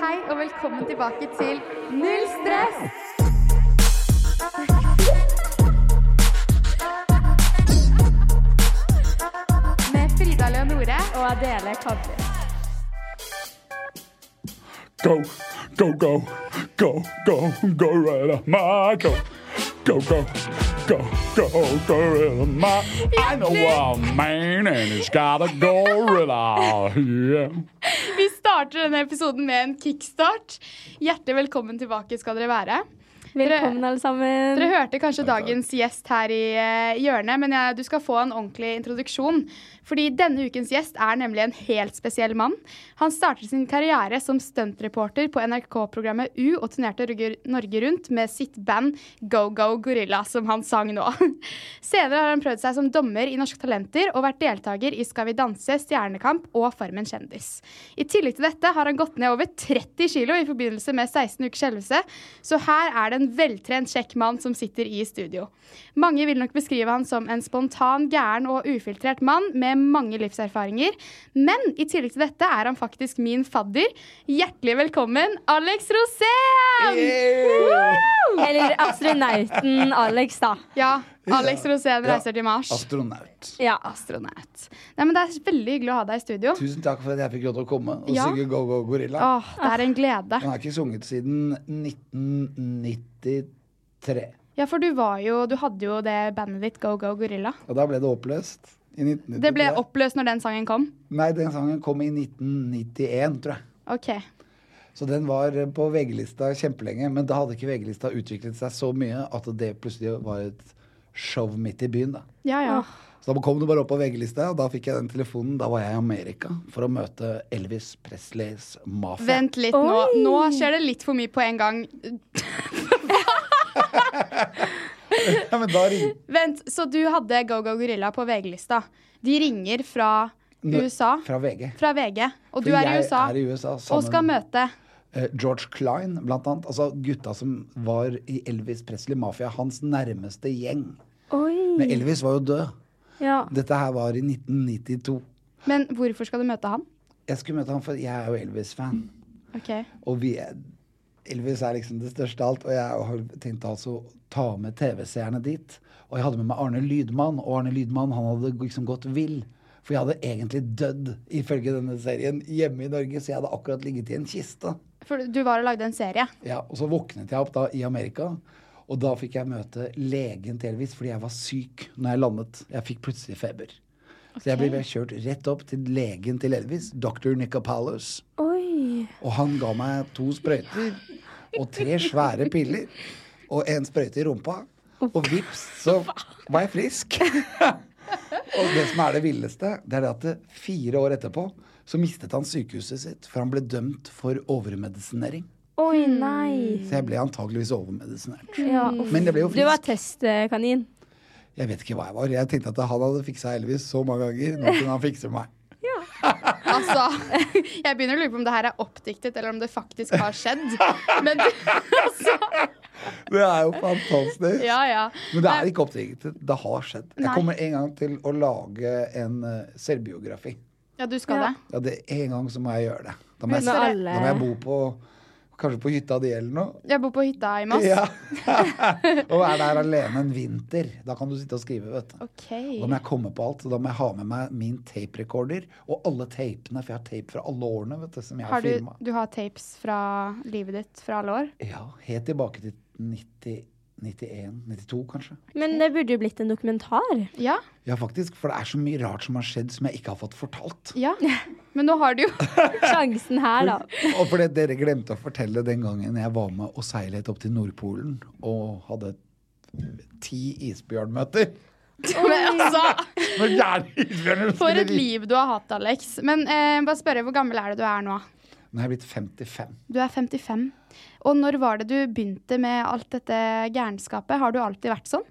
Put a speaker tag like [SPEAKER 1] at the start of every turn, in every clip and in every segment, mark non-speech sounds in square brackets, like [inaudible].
[SPEAKER 1] Hei og velkommen tilbake til Null stress! Med Frida Leonore og Adele Kavli.
[SPEAKER 2] go, go, go, go, go, gorilla my go, go, go, go, go, gorilla my. I know a man and he's got a gorilla. Yeah.
[SPEAKER 1] Vi starter denne episoden med en kickstart. Hjertelig velkommen tilbake skal dere være.
[SPEAKER 3] Velkommen, alle sammen.
[SPEAKER 1] Dere hørte kanskje dagens gjest her i eh, hjørnet, men jeg, du skal få en ordentlig introduksjon. Fordi denne ukens gjest er nemlig en helt spesiell mann. Han startet sin karriere som stuntreporter på NRK-programmet U og turnerte Rugger- Norge rundt med sitt band Go Go Gorilla, som han sang nå. [laughs] Senere har han prøvd seg som dommer i Norske Talenter og vært deltaker i Skal vi danse, Stjernekamp og Farmen kjendis. I tillegg til dette har han gått ned over 30 kilo i forbindelse med 16 ukers skjelvelse, så her er det en veltrent kjekk mann som sitter i studio. Mange vil nok beskrive han som en spontan, gæren og ufiltrert mann med mange livserfaringer, men i tillegg til dette er han faktisk min fadder. Hjertelig velkommen, Alex Rosén!
[SPEAKER 3] Eller astronauten Alex, da.
[SPEAKER 1] Ja, Alex
[SPEAKER 4] Ja.
[SPEAKER 1] Rosén
[SPEAKER 4] Ja. Ah.
[SPEAKER 1] reiser til Mars.
[SPEAKER 4] Astronaut.
[SPEAKER 3] Ja.
[SPEAKER 1] Astronaut. Nei, men det er veldig hyggelig å ha deg i studio.
[SPEAKER 4] Tusen takk for at jeg fikk lov til å komme og
[SPEAKER 1] Ja.
[SPEAKER 4] synge Go Go Gorilla.
[SPEAKER 1] Åh, det er en glede.
[SPEAKER 4] Den har ikke sunget siden 1993.
[SPEAKER 1] Ja, for du var jo Du hadde jo det bandet ditt Go Go Gorilla.
[SPEAKER 4] Og da ble det oppløst. I 1993.
[SPEAKER 1] Det ble oppløst når den sangen kom.
[SPEAKER 4] Nei, den sangen kom i 1991, tror jeg.
[SPEAKER 1] OK.
[SPEAKER 4] Så den var eh, på VG-lista kjempelenge. Men da hadde ikke VG-lista utviklet seg så mye at det plutselig var et show midt i byen, da.
[SPEAKER 1] Ja, ja.
[SPEAKER 4] Så da kom du bare opp på VG-lista, og da fikk jeg den telefonen. Da var jeg i Amerika for å møte Elvis Presleys mafia.
[SPEAKER 1] Vent litt nå.
[SPEAKER 3] Oi.
[SPEAKER 1] Nå skjer det litt for mye på en gang.
[SPEAKER 4] Ja, men da ringte
[SPEAKER 1] Vent, så du hadde Go Go Gorilla på VG-lista. De ringer fra
[SPEAKER 4] Nå-
[SPEAKER 1] USA.
[SPEAKER 4] Fra VG.
[SPEAKER 1] Fra VG. Og du
[SPEAKER 4] Fordi
[SPEAKER 1] er i
[SPEAKER 4] jeg
[SPEAKER 1] USA.
[SPEAKER 4] er i USA
[SPEAKER 1] og
[SPEAKER 4] sammen-
[SPEAKER 1] skal møte
[SPEAKER 4] Eh, George Klein, blant annet. Altså gutta som var i Elvis Presley Mafia, hans nærmeste gjeng. Men
[SPEAKER 3] Oi.
[SPEAKER 4] Elvis var jo død.
[SPEAKER 3] Ja.
[SPEAKER 4] Dette her var i 1992.
[SPEAKER 1] Men hvorfor skal du møte han?
[SPEAKER 4] Jeg skulle møte ham, for jeg er jo Elvis-fan.
[SPEAKER 1] OK.
[SPEAKER 4] Og vi er Elvis er liksom det største av alt, og jeg har tenkt altså å ta med TV-seerne dit. Og jeg hadde med meg Arne Lydmann, og Arne Lydmann han hadde liksom gått vill. For jeg hadde egentlig dødd, ifølge denne serien, hjemme i Norge, så jeg hadde akkurat ligget i en kiste.
[SPEAKER 1] For du var og lagde en serie.
[SPEAKER 4] Ja, og så våknet jeg opp da i Amerika, og da fikk jeg møte legen til Elvis, fordi jeg var syk når jeg landet. Jeg fikk plutselig feber. Så jeg ble bare kjørt rett opp til legen til Elvis, dr. Nicopalos.
[SPEAKER 3] Oi.
[SPEAKER 4] Og han ga meg to sprøyter og tre svære piller og en sprøyte i rumpa. Og vips, så var jeg frisk. og det som er det villeste, det er det at det fire år etterpå så mistet han sykehuset sitt, for han ble dømt for overmedisinering.
[SPEAKER 3] Oi, nei.
[SPEAKER 4] Så jeg ble antageligvis overmedisinert.
[SPEAKER 3] Ja.
[SPEAKER 4] Men jeg ble jo
[SPEAKER 3] Du var eh,
[SPEAKER 4] frisk.
[SPEAKER 3] testkanin.
[SPEAKER 4] Jeg vet ikke hva jeg var. Jeg tenkte at han hadde fiksa Elvis så mange ganger. Nå kunne han fikse meg.
[SPEAKER 1] Altså, [laughs] jeg begynner å lure på om det her er oppdiktet, eller om det faktisk har skjedd.
[SPEAKER 4] [laughs]
[SPEAKER 1] Men du, altså
[SPEAKER 4] Det er jo fantastisk.
[SPEAKER 1] Ja, ja.
[SPEAKER 4] Men det er ikke oppdaget. Det har skjedd.
[SPEAKER 1] Nei.
[SPEAKER 4] Jeg kommer en gang til å lage en eh, selvbiografi.
[SPEAKER 1] Ja, du skal
[SPEAKER 3] Ja.
[SPEAKER 1] det.
[SPEAKER 4] Ja, det, en gang så må jeg gjøre det. Da må jeg,
[SPEAKER 3] Når
[SPEAKER 4] da
[SPEAKER 3] alle-
[SPEAKER 4] må jeg bo på Kanskje på hytta di eller noe.
[SPEAKER 1] Jeg bor på hytta i Moss.
[SPEAKER 4] Ja. [laughs] og er der alene en vinter. Da kan du sitte og skrive, vet du.
[SPEAKER 1] OK.
[SPEAKER 4] Og Da må jeg komme på alt. så Da må jeg ha med meg min tape-recorder og alle tapene. For jeg har tape fra alle årene vet du, som jeg
[SPEAKER 1] Har
[SPEAKER 4] har
[SPEAKER 1] du,
[SPEAKER 4] filma.
[SPEAKER 1] du har tapes fra livet ditt fra alle år?
[SPEAKER 4] Ja, helt tilbake til 90, 91, 92 kanskje.
[SPEAKER 3] Men det burde jo blitt en dokumentar.
[SPEAKER 1] Ja.
[SPEAKER 4] Ja, faktisk. For det er så mye rart som har skjedd som jeg ikke har fått fortalt.
[SPEAKER 1] Ja. Men nå har du jo
[SPEAKER 3] Sjansen her, da.
[SPEAKER 4] [laughs] Og fordi dere glemte å fortelle den gangen jeg var med og seilet opp til Nordpolen og hadde ti isbjørnmøter.
[SPEAKER 1] Men altså
[SPEAKER 4] Når gjerne isbjørnen
[SPEAKER 1] For
[SPEAKER 4] skulle
[SPEAKER 1] et
[SPEAKER 4] ri-
[SPEAKER 1] liv du har hatt, Alex. Men eh, bare spørre, hvor gammel er det du er nå?
[SPEAKER 4] Nå er jeg blitt 55.
[SPEAKER 1] Du er 55. Og når var det du begynte med alt dette gærenskapet? Har du alltid vært sånn?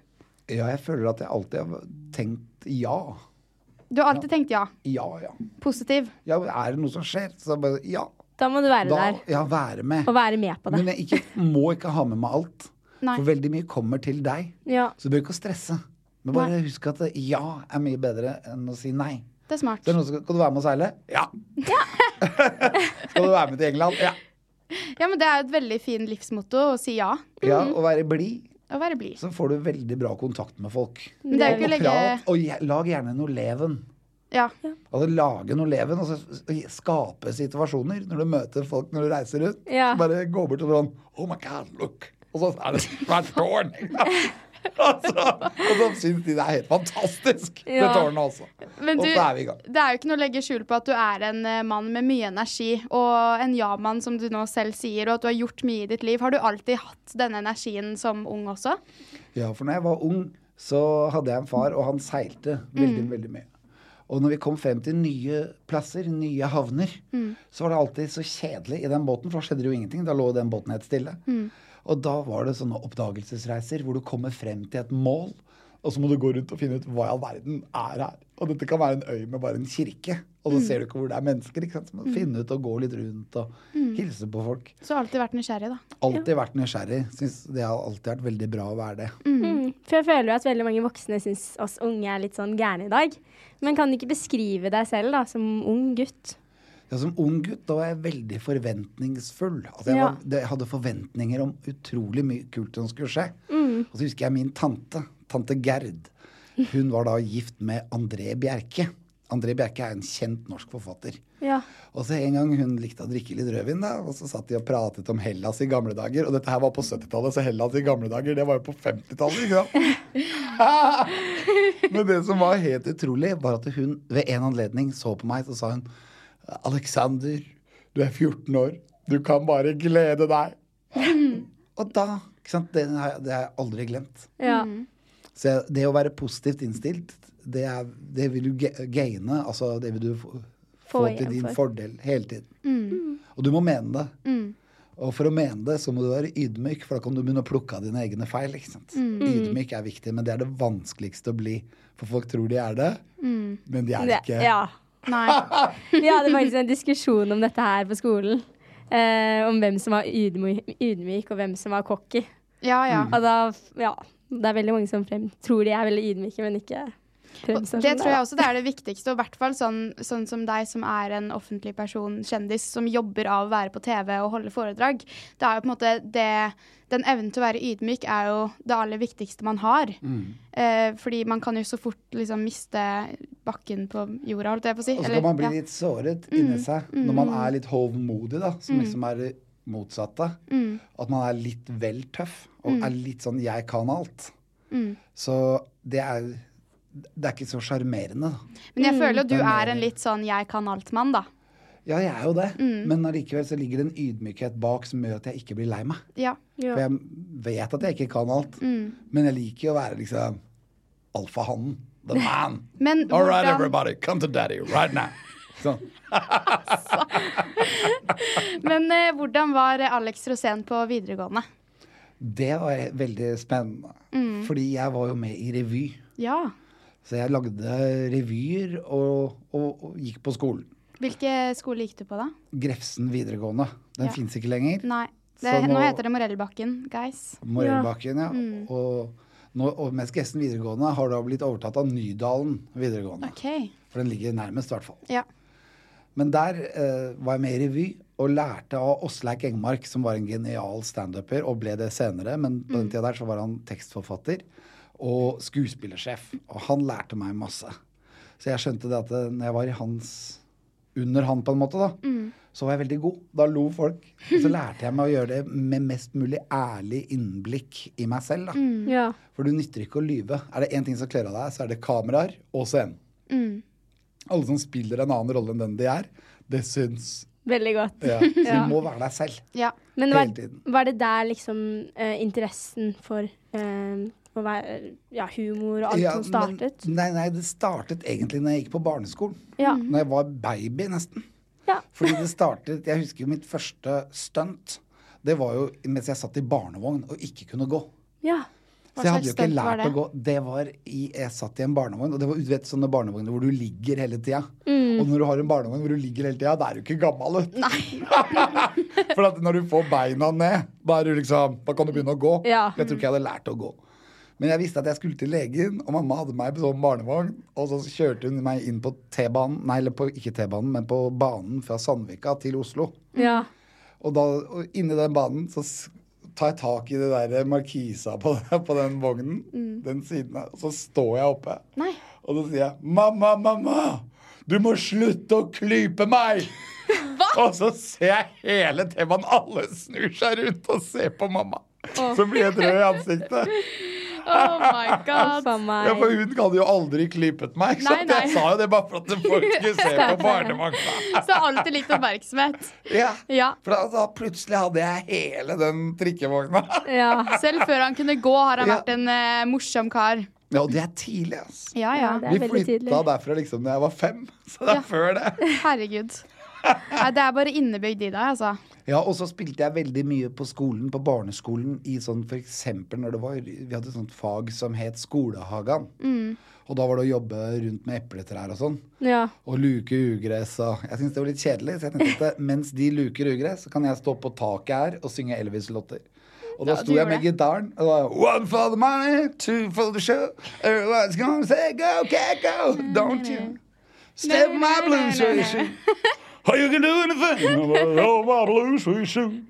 [SPEAKER 4] Ja, jeg føler at jeg alltid har tenkt ja.
[SPEAKER 1] Du har alltid tenkt ja.
[SPEAKER 4] Ja, ja.
[SPEAKER 1] Positiv.
[SPEAKER 4] ja men er det noe som skjer? Så bare ja.
[SPEAKER 3] Da må du være
[SPEAKER 4] Da,
[SPEAKER 3] der.
[SPEAKER 4] ja, være med.
[SPEAKER 3] Og være med på det.
[SPEAKER 4] Men jeg ikke, må ikke ha med meg alt.
[SPEAKER 1] Nei.
[SPEAKER 4] For veldig mye kommer til deg.
[SPEAKER 3] Ja.
[SPEAKER 4] Så du bør ikke stresse. Men bare husk at ja er mye bedre enn å si nei.
[SPEAKER 1] Det er smart.
[SPEAKER 4] Det er noen som, kan du være med og seile? Ja. [laughs] skal du være med til England? Ja.
[SPEAKER 1] Ja, men Det er jo et veldig fin livsmotto å si ja
[SPEAKER 4] ja.
[SPEAKER 3] Mm.
[SPEAKER 4] Og være blid,
[SPEAKER 1] og være blid.
[SPEAKER 4] så får du veldig bra kontakt med folk.
[SPEAKER 1] Men det er jo ikke å
[SPEAKER 4] Og
[SPEAKER 1] legge
[SPEAKER 4] prat, og je- lag gjerne noe leven.
[SPEAKER 1] Ja.
[SPEAKER 4] Altså lage noe leven, og så s- skape situasjoner når du møter folk når du reiser rundt.
[SPEAKER 3] Ja.
[SPEAKER 4] Så Bare gå bort og sånn Oh my God, look! Og så er det svært tårn! [laughs] og så, og så syns de det er helt fantastisk, det
[SPEAKER 3] Ja.
[SPEAKER 4] tårnet også.
[SPEAKER 1] Men
[SPEAKER 4] og
[SPEAKER 1] du,
[SPEAKER 4] så er vi i gang.
[SPEAKER 1] det er jo ikke noe å legge skjul på at du er en eh, mann med mye energi, og en ja-mann, som du nå selv sier, og at du har gjort mye i ditt liv. Har du alltid hatt denne energien som ung også?
[SPEAKER 4] Ja, for når jeg var ung, så hadde jeg en far, og han seilte veldig, veldig mye. Og når vi kom frem til nye plasser, nye havner, så var det alltid så kjedelig i den båten, for da skjedde det jo ingenting. Da lå den båten helt stille. Og da var det sånne oppdagelsesreiser hvor du kommer frem til et mål, og så må du gå rundt og finne ut hva i all verden er her. Og dette kan være en øy med bare en kirke, og så ser du ikke hvor det er mennesker. ikke sant? Så må du finne ut og gå litt rundt og hilse på folk.
[SPEAKER 1] Så har du alltid vært nysgjerrig, da.
[SPEAKER 4] [laughs] Alltid vært nysgjerrig. Syns det har alltid vært veldig bra å være det.
[SPEAKER 3] Mm. For jeg føler jo at veldig mange voksne syns oss unge er litt sånn gærne i dag. Men kan du ikke beskrive deg selv da, som ung gutt?
[SPEAKER 4] Ja, som ung gutt da var jeg veldig forventningsfull. Altså, jeg,
[SPEAKER 3] Ja.
[SPEAKER 4] var, det- jeg hadde forventninger om utrolig mye kult som skulle skje. Og så husker jeg min tante, tante Gerd. Hun var da gift med André Bjerke. André Bjerke er en kjent norsk forfatter.
[SPEAKER 3] Ja.
[SPEAKER 4] Og så en gang hun likte å drikke litt rødvin, da, og så satt de og pratet om Hellas i gamle dager. Og dette her var på 70-tallet, så Hellas i gamle dager, det var jo på 50-tallet. ikke sant? Men det som var helt utrolig, var at hun ved en anledning så på meg, så sa hun Alexander, du er 14 år. Du kan bare glede deg. og da ikke sant, det, har jeg- det har jeg aldri glemt.
[SPEAKER 3] Ja.
[SPEAKER 4] Så jeg- det å være positivt innstilt, det, er, det vil du ga- gaine, altså det vil du få, få
[SPEAKER 3] Få
[SPEAKER 4] til
[SPEAKER 3] igjen
[SPEAKER 4] din
[SPEAKER 3] for. Mm.
[SPEAKER 4] fordel hele tiden. Og du må mene det. Og for å mene det, så må du være ydmyk, for da kan du begynne å plukke av dine egne feil. ikke sant?
[SPEAKER 3] Mm.
[SPEAKER 4] Ydmyk er viktig, men det er det vanskeligste å bli. For folk tror de er det, men de er det
[SPEAKER 3] Mm. Det,
[SPEAKER 4] ikke.
[SPEAKER 3] ja.
[SPEAKER 1] Nei.
[SPEAKER 3] [laughs] Vi hadde faktisk en diskusjon om dette her på skolen. Eh, om hvem som var ydmyk, ydmyk, og hvem som var cocky.
[SPEAKER 1] Ja, ja.
[SPEAKER 3] Og da, ja, det er veldig mange som frem, tror de er veldig ydmyke, men ikke
[SPEAKER 1] Og
[SPEAKER 3] fremstår som
[SPEAKER 1] Det tror jeg også det er det viktigste, og i hvert fall sånn, sånn som deg som er en offentlig person, kjendis, som jobber av å være på TV og holde foredrag. Det er jo på en måte det, Den evnen til å være ydmyk er jo det aller viktigste man har.
[SPEAKER 4] Mm.
[SPEAKER 1] Eh, fordi man kan jo så fort liksom miste bakken på jorda, holdt jeg på å si.
[SPEAKER 4] Og så
[SPEAKER 1] Eller-
[SPEAKER 4] kan man bli
[SPEAKER 1] ja. Mm,
[SPEAKER 4] litt såret inni seg når man er litt hovmodig, da, som liksom er det motsatte.
[SPEAKER 1] Mm.
[SPEAKER 4] At man er litt vel tøff, og er litt sånn 'jeg kan alt'.
[SPEAKER 1] Mm.
[SPEAKER 4] Så det er Det er ikke så sjarmerende, da.
[SPEAKER 1] Men jeg føler jo du er
[SPEAKER 4] eh,
[SPEAKER 1] en litt sånn jeg kan alt-mann, da.
[SPEAKER 4] Ja, jeg er jo det,
[SPEAKER 1] Mm.
[SPEAKER 4] men allikevel så ligger det en ydmykhet bak som gjør at jeg ikke blir lei meg.
[SPEAKER 1] Ja.
[SPEAKER 4] For jeg vet at jeg ikke kan alt,
[SPEAKER 1] Mm.
[SPEAKER 4] men jeg liker jo å være liksom alfahannen. The man.
[SPEAKER 1] Men
[SPEAKER 4] All right,
[SPEAKER 1] hvordan-
[SPEAKER 4] everybody, come to daddy
[SPEAKER 1] [laughs]
[SPEAKER 4] right now. Sånn.
[SPEAKER 1] Men eh, hvordan var eh, Alex Rosén på videregående?
[SPEAKER 4] Det var veldig spennende.
[SPEAKER 1] Mm.
[SPEAKER 4] Fordi jeg var jo med i revy.
[SPEAKER 1] Ja.
[SPEAKER 4] Så jeg lagde revyer og, og, og gikk på skolen.
[SPEAKER 1] Hvilke skole gikk du på da?
[SPEAKER 4] Grefsen videregående. Den
[SPEAKER 1] Ja.
[SPEAKER 4] fins ikke lenger.
[SPEAKER 1] Nei. Det,
[SPEAKER 4] Så
[SPEAKER 1] nå,
[SPEAKER 4] nå-
[SPEAKER 1] heter det Morellbakken, guys.
[SPEAKER 4] Morellbakken, ja.
[SPEAKER 1] Mm.
[SPEAKER 4] Og, nå, og mens Grefsen videregående har da blitt overtatt av Nydalen videregående.
[SPEAKER 1] OK.
[SPEAKER 4] For den ligger nærmest, i hvert fall.
[SPEAKER 1] Ja.
[SPEAKER 4] Men der eh, var jeg med i revy, og lærte av Åsleik Engmark, som var en genial standuper, og ble det senere, men på den tida der så var han tekstforfatter og skuespillersjef. Og han lærte meg masse. Så jeg skjønte det at eh, når jeg var i hans under han, på en måte, da, så var jeg veldig god. Da lo folk. Og så lærte jeg meg å gjøre det med mest mulig ærlig innblikk i meg selv, da.
[SPEAKER 3] Ja.
[SPEAKER 4] For du nytter ikke å lyve. Er det én ting som kler av deg, så er det kameraer og scenen.
[SPEAKER 3] Mm.
[SPEAKER 4] Alle som spiller en annen rolle enn den de er, det syns.
[SPEAKER 3] Veldig godt.
[SPEAKER 4] Ja.
[SPEAKER 3] [laughs]
[SPEAKER 4] Så du må være deg selv.
[SPEAKER 1] Ja.
[SPEAKER 3] Men
[SPEAKER 4] Hele
[SPEAKER 3] var,
[SPEAKER 4] tiden.
[SPEAKER 3] var det der liksom eh, interessen for eh, å være ja, humor og alt
[SPEAKER 4] Ja,
[SPEAKER 3] som startet?
[SPEAKER 4] Men, nei, nei, det startet egentlig når jeg gikk på barneskolen.
[SPEAKER 3] Ja.
[SPEAKER 4] Når jeg var baby, nesten.
[SPEAKER 3] Ja.
[SPEAKER 4] Fordi det startet Jeg husker jo mitt første stunt. Det var jo mens jeg satt i barnevogn og ikke kunne gå.
[SPEAKER 3] ja.
[SPEAKER 4] Så jeg hadde jo
[SPEAKER 1] slags
[SPEAKER 4] ikke
[SPEAKER 1] stunt var
[SPEAKER 4] lært å
[SPEAKER 1] det?
[SPEAKER 4] gå. Det var i, jeg satt i en barnevogn, og det var du vet, sånne barnevogner hvor du ligger hele tida.
[SPEAKER 1] Mm.
[SPEAKER 4] Og når du har en barnevogn hvor du ligger hele tida, da er du ikke gammel, vet du. [laughs] For at når du får beina ned, da er du liksom Da kan du begynne å gå.
[SPEAKER 3] Ja.
[SPEAKER 4] Jeg tror ikke jeg hadde lært å gå. Men jeg visste at jeg skulle til legen, og mamma hadde meg på sånn barnevogn. Og så kjørte hun meg inn på T-banen, nei, eller på, ikke T-banen, men på banen fra Sandvika til Oslo.
[SPEAKER 3] ja.
[SPEAKER 4] Og, da, og inni den banen så s- tar jeg tak i det der markisa på, [laughs] på den vognen, den siden av, og så står jeg oppe.
[SPEAKER 1] Mm. Nei.
[SPEAKER 4] Og så sier jeg 'mamma, mamma, du må slutte å klype
[SPEAKER 1] [laughs]
[SPEAKER 4] meg'. Og så ser jeg hele T-banen, alle snur seg rundt og ser på mamma. Så blir jeg rød i ansiktet.
[SPEAKER 1] [laughs] Oh my god.
[SPEAKER 3] Faen meg.
[SPEAKER 4] Ja, for hun hadde jo aldri klypet meg. Så
[SPEAKER 1] Nei, nei.
[SPEAKER 4] jeg sa jo det bare for at folk skulle
[SPEAKER 1] [laughs]
[SPEAKER 4] se på barnevogna.
[SPEAKER 1] Så alltid litt oppmerksomhet.
[SPEAKER 4] Ja.
[SPEAKER 1] Ja.
[SPEAKER 4] For da, da plutselig hadde jeg hele den trikkevogna.
[SPEAKER 3] Ja.
[SPEAKER 1] Selv før han kunne gå, har han
[SPEAKER 4] Ja.
[SPEAKER 1] vært en eh, morsom kar.
[SPEAKER 4] Ja, og det er tidlig, ass.
[SPEAKER 1] Ja, ja.
[SPEAKER 3] Ja, det
[SPEAKER 4] Vi
[SPEAKER 3] er veldig
[SPEAKER 4] flytta
[SPEAKER 3] tydelig.
[SPEAKER 4] derfra liksom da jeg var fem. [laughs] Så det er før
[SPEAKER 3] [laughs]
[SPEAKER 4] det.
[SPEAKER 1] Herregud. Nei, det er bare innebygd i deg, altså.
[SPEAKER 4] Ja, og så spilte jeg veldig mye på skolen, på barneskolen, i sånn for eksempel når det var Vi hadde et sånt fag som het Skolehagan.
[SPEAKER 3] Mm.
[SPEAKER 4] Og da var det å jobbe rundt med epletrær og sånn.
[SPEAKER 3] Ja.
[SPEAKER 4] Og luke ugress og Jeg syntes det var litt kjedelig, så jeg tenkte
[SPEAKER 1] [laughs]
[SPEAKER 4] at mens de luker ugress, så kan jeg stå på taket her og synge Elvis-låter. Og
[SPEAKER 1] Ja,
[SPEAKER 4] da
[SPEAKER 1] du
[SPEAKER 4] sto jeg
[SPEAKER 1] gjorde
[SPEAKER 4] med
[SPEAKER 1] det.
[SPEAKER 4] gitaren og da One for the money, two for the show. Everyone's gonna say go, cat, go, don't you? Step my blues way
[SPEAKER 1] [laughs]
[SPEAKER 4] soon. How you can do anything but roll my blues way soon.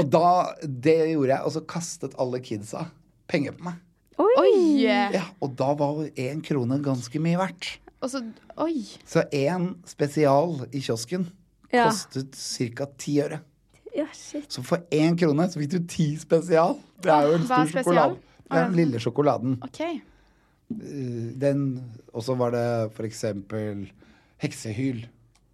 [SPEAKER 4] Og da, det gjorde jeg, og så kastet alle kidsa penger på meg.
[SPEAKER 3] Oi.
[SPEAKER 1] Oi!
[SPEAKER 4] Ja, og da var jo én krone ganske mye verdt.
[SPEAKER 1] Og så Oi.
[SPEAKER 4] Så én spesial i kiosken
[SPEAKER 3] Ja.
[SPEAKER 4] kostet ca. ti øre.
[SPEAKER 3] ja, shit.
[SPEAKER 4] Så for én krone så fikk du ti spesial. Det er jo en
[SPEAKER 1] Hva er
[SPEAKER 4] stor
[SPEAKER 1] spesial?
[SPEAKER 4] sjokolade. Det er den lille sjokoladen.
[SPEAKER 1] OK.
[SPEAKER 4] Den, og så var det for eksempel heksehyl.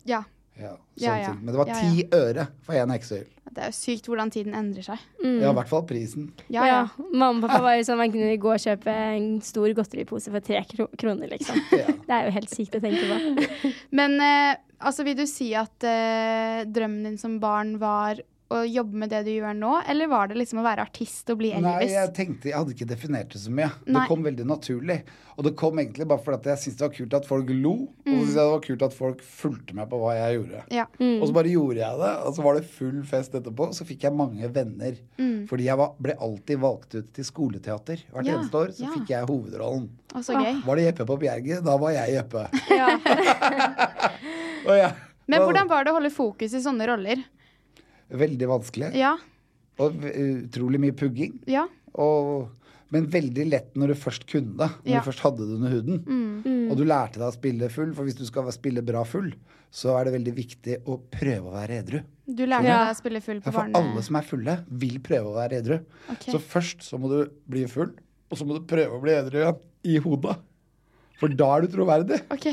[SPEAKER 1] Ja.
[SPEAKER 4] Ja,
[SPEAKER 1] Ja,
[SPEAKER 4] sånn
[SPEAKER 1] ja.
[SPEAKER 4] ting. Men det var
[SPEAKER 1] Ja,
[SPEAKER 4] ti øre for én heksehyl.
[SPEAKER 1] Det er jo sykt hvordan tiden endrer seg.
[SPEAKER 4] Ja, i hvert fall prisen.
[SPEAKER 1] Ja,
[SPEAKER 3] Ja,
[SPEAKER 1] ja.
[SPEAKER 3] Mamma og pappa var jo sånn, man kunne gå og kjøpe en stor godteripose for tre kro kroner,
[SPEAKER 4] [laughs]
[SPEAKER 3] liksom. Det er jo helt sykt å tenke på.
[SPEAKER 1] Men eh, altså, vil du si at eh, drømmen din som barn var å jobbe med det du gjør nå, eller var det liksom å være artist og bli
[SPEAKER 4] Nei,
[SPEAKER 1] Elvis?
[SPEAKER 4] jeg tenkte, jeg hadde ikke definert det så mye. Det
[SPEAKER 1] Nei.
[SPEAKER 4] kom veldig naturlig. Og det kom egentlig bare fordi at jeg syntes det var kult at folk lo. Og
[SPEAKER 1] Mm.
[SPEAKER 4] så syntes jeg det var kult at folk fulgte med på hva jeg gjorde.
[SPEAKER 1] Ja.
[SPEAKER 4] Og så bare gjorde jeg det, og så var det full fest etterpå. Og så fikk jeg mange venner. Fordi jeg var, ble alltid valgt ut til skoleteater. Hvert
[SPEAKER 1] Mm. Ja,
[SPEAKER 4] eneste år så
[SPEAKER 1] ja.
[SPEAKER 4] fikk jeg hovedrollen.
[SPEAKER 1] Og så gøy.
[SPEAKER 4] Var det Jeppe på Bjerget? Da var jeg Jeppe.
[SPEAKER 3] Ja.
[SPEAKER 4] Og jeg,
[SPEAKER 1] [laughs] Men hvordan var det å holde fokus i sånne roller?
[SPEAKER 4] Veldig vanskelig.
[SPEAKER 1] Ja.
[SPEAKER 4] Og v- utrolig mye pugging.
[SPEAKER 1] Ja.
[SPEAKER 4] Og, men veldig lett når du først kunne det. Når
[SPEAKER 1] Ja. Mm.
[SPEAKER 4] du først hadde det under huden. Og du lærte deg å spille full, for hvis du skal spille bra full, så er det veldig viktig å prøve å være edru.
[SPEAKER 1] Du lærte
[SPEAKER 3] Ja.
[SPEAKER 1] deg å spille full
[SPEAKER 4] Ja,
[SPEAKER 1] på
[SPEAKER 4] For
[SPEAKER 1] barne...
[SPEAKER 4] alle som er fulle, vil prøve å være edru.
[SPEAKER 1] Ok.
[SPEAKER 4] Så først så må du bli full, og så må du prøve å bli edru igjen. I hodet. For da er du troverdig.
[SPEAKER 1] OK.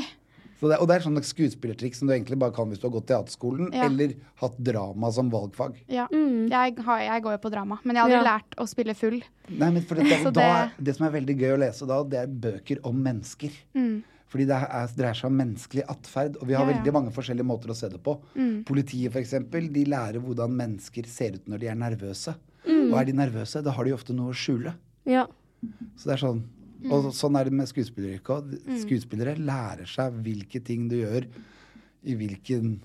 [SPEAKER 4] Så det, og det er sånne skuespillertriks som du egentlig bare kan hvis du har gått teaterskolen
[SPEAKER 1] Ja.
[SPEAKER 4] eller hatt drama som valgfag.
[SPEAKER 1] Ja. Jeg, har, jeg går jo på drama, men jeg hadde
[SPEAKER 3] Mm. Ja.
[SPEAKER 1] lært å spille full.
[SPEAKER 4] Nei, men for det,
[SPEAKER 1] [laughs] Så
[SPEAKER 4] da, da,
[SPEAKER 1] det-
[SPEAKER 4] er- det som er veldig gøy å lese da, det er bøker om mennesker. Fordi det er, dreier seg om menneskelig atferd, og vi har
[SPEAKER 1] Mm. Ja, Mm. ja.
[SPEAKER 4] veldig mange forskjellige måter å se det på. Politiet, for eksempel, de lærer hvordan mennesker ser ut når de er nervøse.
[SPEAKER 1] Mm.
[SPEAKER 4] Og er de nervøse, da har de ofte noe å skjule.
[SPEAKER 3] ja.
[SPEAKER 4] Så det er sånn.
[SPEAKER 1] Mm.
[SPEAKER 4] Og sånn er det med skuespilleryrket òg. Skuespillere lærer seg hvilke ting du gjør i hvilken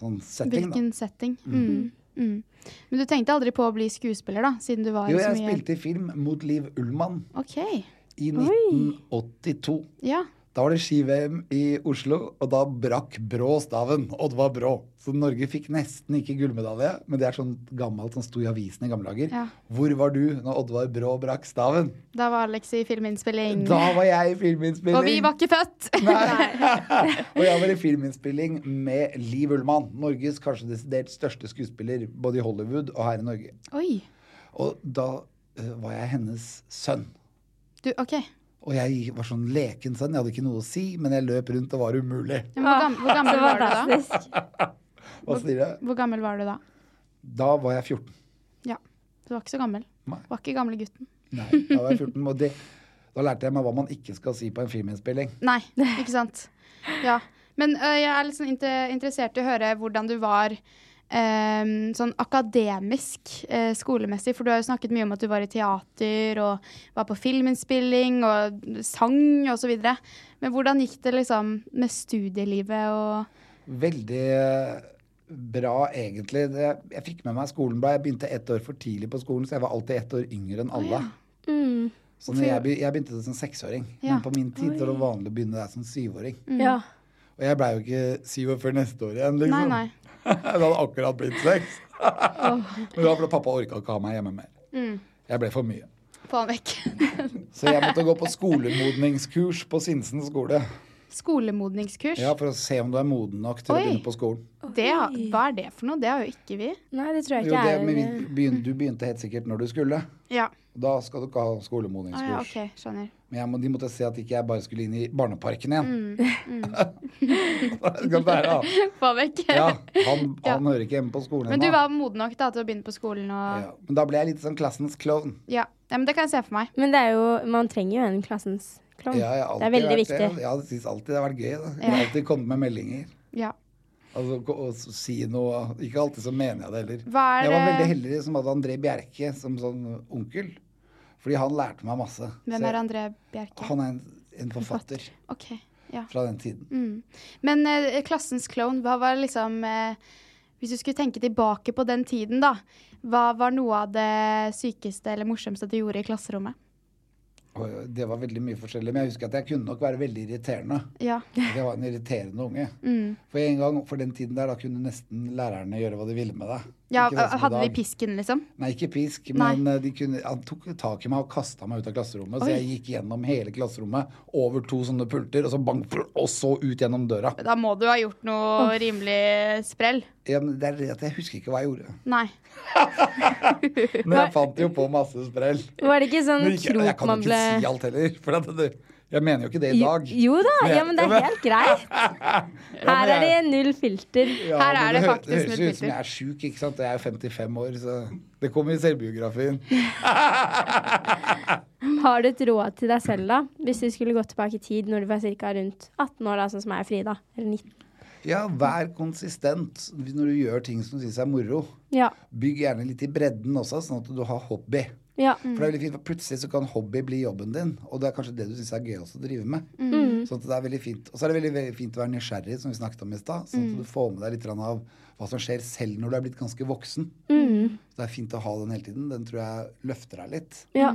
[SPEAKER 4] sånn setting. da.
[SPEAKER 1] Hvilken setting. Mm. Mm. Men du tenkte aldri på å bli skuespiller, da? Siden du var
[SPEAKER 4] Jo,
[SPEAKER 1] i så
[SPEAKER 4] jeg
[SPEAKER 1] mye
[SPEAKER 4] spilte i film mot Liv Ullmann
[SPEAKER 1] OK.
[SPEAKER 4] i 1982.
[SPEAKER 1] Ja.
[SPEAKER 4] Da var det ski-VM i Oslo, og da brakk Brå staven. Og det var Brå. Så Norge fikk nesten ikke gullmedalje, men det er sånn gammelt som sto i avisen i gamle dager.
[SPEAKER 1] Ja.
[SPEAKER 4] Hvor var du når Oddvar Brå brakk staven?
[SPEAKER 1] Da var Alex i filminnspilling.
[SPEAKER 4] Da var jeg i
[SPEAKER 1] Mm.
[SPEAKER 4] filminnspilling.
[SPEAKER 1] Og vi var ikke født!
[SPEAKER 4] Nei. og jeg var i filminnspilling med Liv Ullmann. Norges kanskje desidert største skuespiller både i Hollywood og her i Norge.
[SPEAKER 1] [laughs] Oi.
[SPEAKER 4] Og da eh, var jeg hennes sønn.
[SPEAKER 1] Du, OK.
[SPEAKER 4] Og jeg var sånn leken sønn. Jeg hadde ikke noe å si, men jeg løp rundt og var umulig.
[SPEAKER 1] Men
[SPEAKER 3] Ah,
[SPEAKER 1] Hvor
[SPEAKER 3] [laughs]
[SPEAKER 1] gammel, hvor gammel var du da?
[SPEAKER 3] Fantastisk.
[SPEAKER 4] Hva sier jeg?
[SPEAKER 1] Hvor gammel var du da?
[SPEAKER 4] Da var jeg 14.
[SPEAKER 1] Ja. Du var ikke så gammel.
[SPEAKER 4] Nei.
[SPEAKER 1] Du var ikke gamle gutten.
[SPEAKER 4] Nei, da var jeg 14. Og det, da lærte jeg meg hva man ikke skal si på en filminnspilling.
[SPEAKER 1] Nei, ikke sant. Ja. Men ø, jeg er litt sånn inter interessert i å høre hvordan du var ehm, sånn akademisk eh, skolemessig. For du har jo snakket mye om at du var i teater og var på filminnspilling og sang osv. Men hvordan gikk det liksom med studielivet og
[SPEAKER 4] Veldig eh, bra, egentlig. Det, jeg fikk med meg skolen bra. Jeg begynte ett år for tidlig på skolen, så jeg var alltid ett år yngre enn alle. Så når jeg, be- jeg begynte som seksåring,
[SPEAKER 1] Mm. Ja. Mm.
[SPEAKER 4] men på min tid så var det vanlig å begynne der som syvåring.
[SPEAKER 3] Ja.
[SPEAKER 4] Og jeg blei jo ikke syv år før neste år igjen, liksom.
[SPEAKER 1] Nei, nei.
[SPEAKER 4] [laughs] det hadde akkurat blitt seks. [laughs] Men da ble pappa orka ikke ha meg hjemme mer.
[SPEAKER 1] Mm.
[SPEAKER 4] Jeg ble for mye.
[SPEAKER 1] Få han vekk. [laughs]
[SPEAKER 4] Så jeg måtte gå på skolemodningskurs på Sinsen skole.
[SPEAKER 1] Skolemodningskurs.
[SPEAKER 4] Ja, For å se om du er moden nok til
[SPEAKER 1] Oi.
[SPEAKER 4] å begynne på skolen.
[SPEAKER 1] Det, har- hva er det for noe? Det har jo ikke vi.
[SPEAKER 3] Nei, det tror jeg
[SPEAKER 4] Jo,
[SPEAKER 3] ikke
[SPEAKER 4] det,
[SPEAKER 3] er
[SPEAKER 4] men vi begyn- du begynte helt sikkert når du skulle.
[SPEAKER 1] Ja.
[SPEAKER 4] Da skal du ikke ha
[SPEAKER 1] Ah, ja,
[SPEAKER 4] skolemodningskurs.
[SPEAKER 1] OK, skjønner. [laughs]
[SPEAKER 4] Men jeg må, de måtte se at ikke jeg bare skulle inn i barneparken igjen.
[SPEAKER 1] Mm,
[SPEAKER 4] [laughs] Det kan være, da.
[SPEAKER 1] Få han vekk.
[SPEAKER 4] Ja, han, han hører ikke hjemme på skolen
[SPEAKER 1] Men du
[SPEAKER 4] ennå.
[SPEAKER 1] var moden nok da, til å begynne på skolen og
[SPEAKER 4] Ja, men da ble jeg litt sånn klassens klovn.
[SPEAKER 1] Ja, ja men det kan jeg se for meg.
[SPEAKER 3] Men det er jo, man trenger jo en klassens klovn.
[SPEAKER 4] Ja, jeg har
[SPEAKER 3] det er
[SPEAKER 4] alltid
[SPEAKER 3] veldig
[SPEAKER 4] vært
[SPEAKER 3] viktig.
[SPEAKER 4] Det. Ja, jeg syns alltid det har vært gøy. Da. Jeg har alltid kommet med meldinger.
[SPEAKER 1] Ja.
[SPEAKER 4] Altså ko- å s- si noe Ikke alltid så mener jeg det heller.
[SPEAKER 1] Hva er
[SPEAKER 4] Jeg var
[SPEAKER 1] det-
[SPEAKER 4] veldig heldig som hadde André Bjerke som sånn onkel. Fordi han lærte meg masse. Så
[SPEAKER 1] Hvem
[SPEAKER 4] jeg-
[SPEAKER 1] er André Bjerke?
[SPEAKER 4] Han er en, en forfatter
[SPEAKER 1] OK. Ja. Mm.
[SPEAKER 4] fra den tiden.
[SPEAKER 1] Men eh, klassens klovn, hva var liksom eh, Hvis du skulle tenke tilbake på den tiden, da. Hva var noe av det sykeste eller morsomste du gjorde i klasserommet?
[SPEAKER 4] Og det var veldig mye forskjellig. Men jeg husker at jeg kunne nok være veldig irriterende.
[SPEAKER 1] Ja.
[SPEAKER 4] At jeg var en irriterende unge.
[SPEAKER 1] Mm.
[SPEAKER 4] For en gang, for den tiden der, da kunne nesten lærerne gjøre hva de ville med deg.
[SPEAKER 1] ja eh,
[SPEAKER 4] Ikke sånn som i
[SPEAKER 1] hadde vi
[SPEAKER 4] dag.
[SPEAKER 1] pisken, liksom?
[SPEAKER 4] Nei, ikke pisk,
[SPEAKER 1] Nei.
[SPEAKER 4] men eh, de kunne, han tok tak i meg og kasta meg ut av klasserommet. Så
[SPEAKER 1] Oi.
[SPEAKER 4] jeg gikk gjennom hele klasserommet, over to sånne pulter, og så bang, prr, og så ut gjennom døra.
[SPEAKER 1] Da må du ha gjort noe rimelig sprell.
[SPEAKER 4] Ja, men det er det at jeg husker ikke hva jeg gjorde.
[SPEAKER 1] Nei.
[SPEAKER 4] Men jeg fant jo på masse sprell.
[SPEAKER 3] Var det ikke sånn
[SPEAKER 4] Men ikke, jeg
[SPEAKER 3] krok
[SPEAKER 4] kan jo
[SPEAKER 3] man ble
[SPEAKER 4] ikke si alt heller, for at det, jeg mener jo ikke det i
[SPEAKER 3] Jo,
[SPEAKER 4] dag.
[SPEAKER 3] jo da,
[SPEAKER 4] Men jeg-
[SPEAKER 3] ja, men det
[SPEAKER 4] [laughs] Ja, men-
[SPEAKER 3] er helt greit. Her er det null filter.
[SPEAKER 4] Ja,
[SPEAKER 1] Her
[SPEAKER 4] men
[SPEAKER 1] er det
[SPEAKER 4] hø-
[SPEAKER 1] faktisk
[SPEAKER 4] Det høres jo
[SPEAKER 1] null
[SPEAKER 4] ut som jeg
[SPEAKER 1] filter.
[SPEAKER 4] er sjuk, ikke sant. Og jeg er jo 55 år, så det kommer i selvbiografien.
[SPEAKER 3] Har du et råd til deg selv, da? Hvis du skulle gått tilbake i tid når du var ca. rundt 18 år, da, sånn som jeg og Frida? Eller 19?
[SPEAKER 4] Ja, vær konsistent når du gjør ting som du syns er moro.
[SPEAKER 3] Ja.
[SPEAKER 4] Bygg gjerne litt i bredden også, sånn at du har hobby.
[SPEAKER 3] ja.
[SPEAKER 1] Mm.
[SPEAKER 4] For det er veldig fint, for plutselig så kan hobby bli jobben din, og det er kanskje det du syns er gøy også å drive med.
[SPEAKER 1] Mm.
[SPEAKER 4] Sånn at det er veldig fint. Og så er det veldig, veldig fint å være nysgjerrig, som vi snakket om i stad. Sånn
[SPEAKER 1] Mm.
[SPEAKER 4] at du får med deg litt grann av hva som skjer selv når du er blitt ganske voksen. Så det er fint å ha den hele tiden. Den tror jeg løfter deg litt.
[SPEAKER 3] Ja.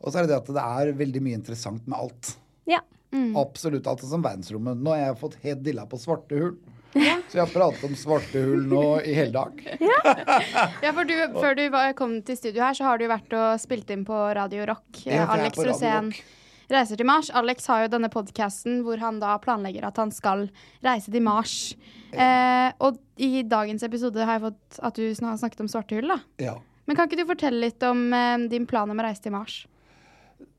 [SPEAKER 4] Og så er det det at det er veldig mye interessant med alt.
[SPEAKER 3] ja.
[SPEAKER 1] Mm.
[SPEAKER 4] Absolutt alt, sånn som verdensrommet. Nå har jeg fått helt dilla på svarte hull. Så jeg har pratet om svarte hull nå i hele dag.
[SPEAKER 1] Ja, for du, Før du var, kom til studio her, så har du vært og spilt inn på Radio Rock. eh,
[SPEAKER 4] Ja, for jeg er
[SPEAKER 1] Alex
[SPEAKER 4] på Radio
[SPEAKER 1] Rosén
[SPEAKER 4] Rock.
[SPEAKER 1] reiser til Mars. Alex har jo denne podkasten hvor han da planlegger at han skal reise til Mars. Eh, og i dagens episode har jeg fått at du sn- har snakket om svarte hull. da.
[SPEAKER 4] Ja.
[SPEAKER 1] Men kan ikke du fortelle litt om eh, din plan om å reise til Mars?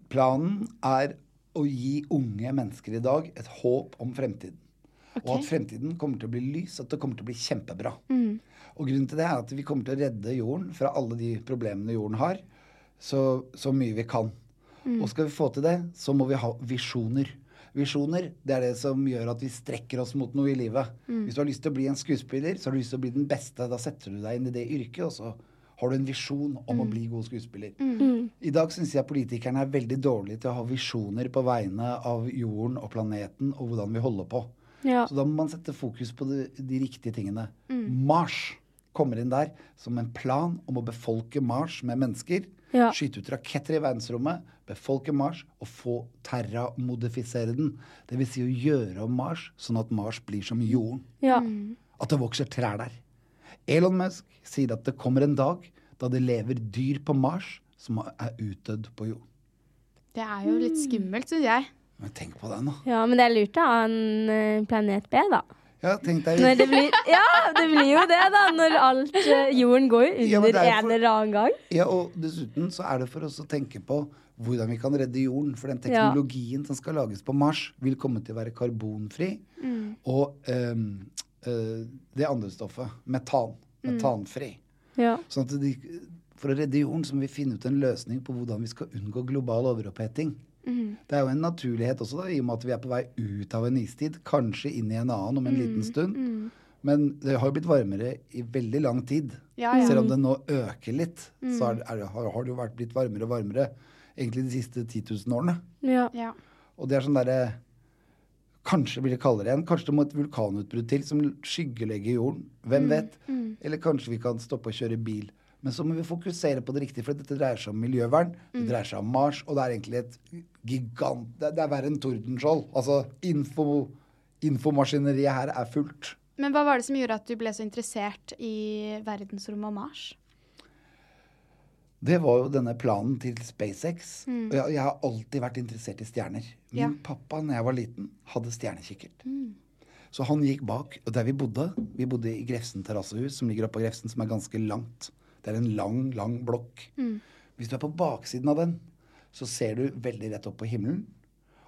[SPEAKER 4] Planen er å gi unge mennesker i dag et håp om fremtiden. Og at fremtiden kommer til å bli lys, at det kommer til å bli kjempebra. Og grunnen til det er at vi kommer til å redde jorden fra alle de problemene jorden har, så, så mye vi kan. Og skal vi få til det, så må vi ha visjoner. Visjoner det er det som gjør at vi strekker oss mot noe i livet. Hvis du har lyst til å bli en skuespiller, så har du lyst til å bli den beste. Da setter du deg inn i det yrket, og så har du en visjon om å bli god skuespiller. I dag syns jeg politikerne er veldig dårlige til å ha visjoner på vegne av jorden og planeten og hvordan vi holder på.
[SPEAKER 3] Ja.
[SPEAKER 4] Så da må man sette fokus på de, de riktige tingene.
[SPEAKER 3] Mm.
[SPEAKER 4] Mars kommer inn der som en plan om å befolke Mars med mennesker.
[SPEAKER 3] Ja.
[SPEAKER 4] skyte ut raketter i verdensrommet, befolke Mars og få terramodifisere den. Det vil si å gjøre om Mars sånn at Mars blir som jorden.
[SPEAKER 3] Ja.
[SPEAKER 4] At det vokser trær der. Elon Musk sier at det kommer en dag da det lever dyr på Mars som er utdødd på jorden.
[SPEAKER 1] Det er jo litt skummelt, syns jeg.
[SPEAKER 4] Men tenk på det nå.
[SPEAKER 3] ja, men det er lurt å ha en eh, planet B, da.
[SPEAKER 4] Ja, tenk deg
[SPEAKER 3] Når det blir, [laughs] ja, det blir jo det, da. Når alt eh, Jorden går jo under
[SPEAKER 4] Ja, men det er jo
[SPEAKER 3] en
[SPEAKER 4] for-
[SPEAKER 3] eller annen gang.
[SPEAKER 4] Ja, og dessuten så er det for oss å tenke på hvordan vi kan redde jorden. For den
[SPEAKER 3] Ja.
[SPEAKER 4] teknologien som skal lages på Mars, vil komme til å være karbonfri. Og ehm, eh, det andre stoffet, metan. Metanfri.
[SPEAKER 3] Ja.
[SPEAKER 4] Sånn at de, for å redde jorden så må vi finne ut en løsning på hvordan vi skal unngå global overoppheting. Det er jo en naturlighet også, da, i og med at vi er på vei ut av en istid. Kanskje inn i en annen om en liten stund. Men det har jo blitt varmere i veldig lang tid.
[SPEAKER 1] Ja, ja. Mm.
[SPEAKER 4] Selv om det nå øker litt, så er, det- er, det- har, har det jo vært blitt varmere og varmere egentlig de siste 10 000 årene.
[SPEAKER 3] Ja.
[SPEAKER 1] Ja.
[SPEAKER 4] Og det er sånn derre Kanskje blir det kaldere igjen. Kanskje det må et vulkanutbrudd til som skyggelegger jorden.
[SPEAKER 1] Mm,
[SPEAKER 4] Hvem vet? Eller kanskje vi kan stoppe å kjøre bil. Men så må vi fokusere på det riktige, for dette dreier seg om miljøvern. Det
[SPEAKER 1] Mm.
[SPEAKER 4] dreier seg om Mars, og det er egentlig et gigant Det, det er verre enn Tordenskjold. Altså, info, infomaskineriet her er fullt.
[SPEAKER 1] Men hva var det som gjorde at du ble så interessert i verdensrommet og Mars?
[SPEAKER 4] Det var jo denne planen til SpaceX. Og jeg, jeg har alltid vært interessert i stjerner. Min
[SPEAKER 1] Ja.
[SPEAKER 4] pappa, når jeg var liten, hadde stjernekikkert. Så han gikk bak, og der vi bodde Vi bodde i Grefsen terrassehus, som ligger oppå Grefsen, som er ganske langt. Det er en lang, lang blokk. Hvis du er på baksiden av den, så ser du veldig rett opp på himmelen.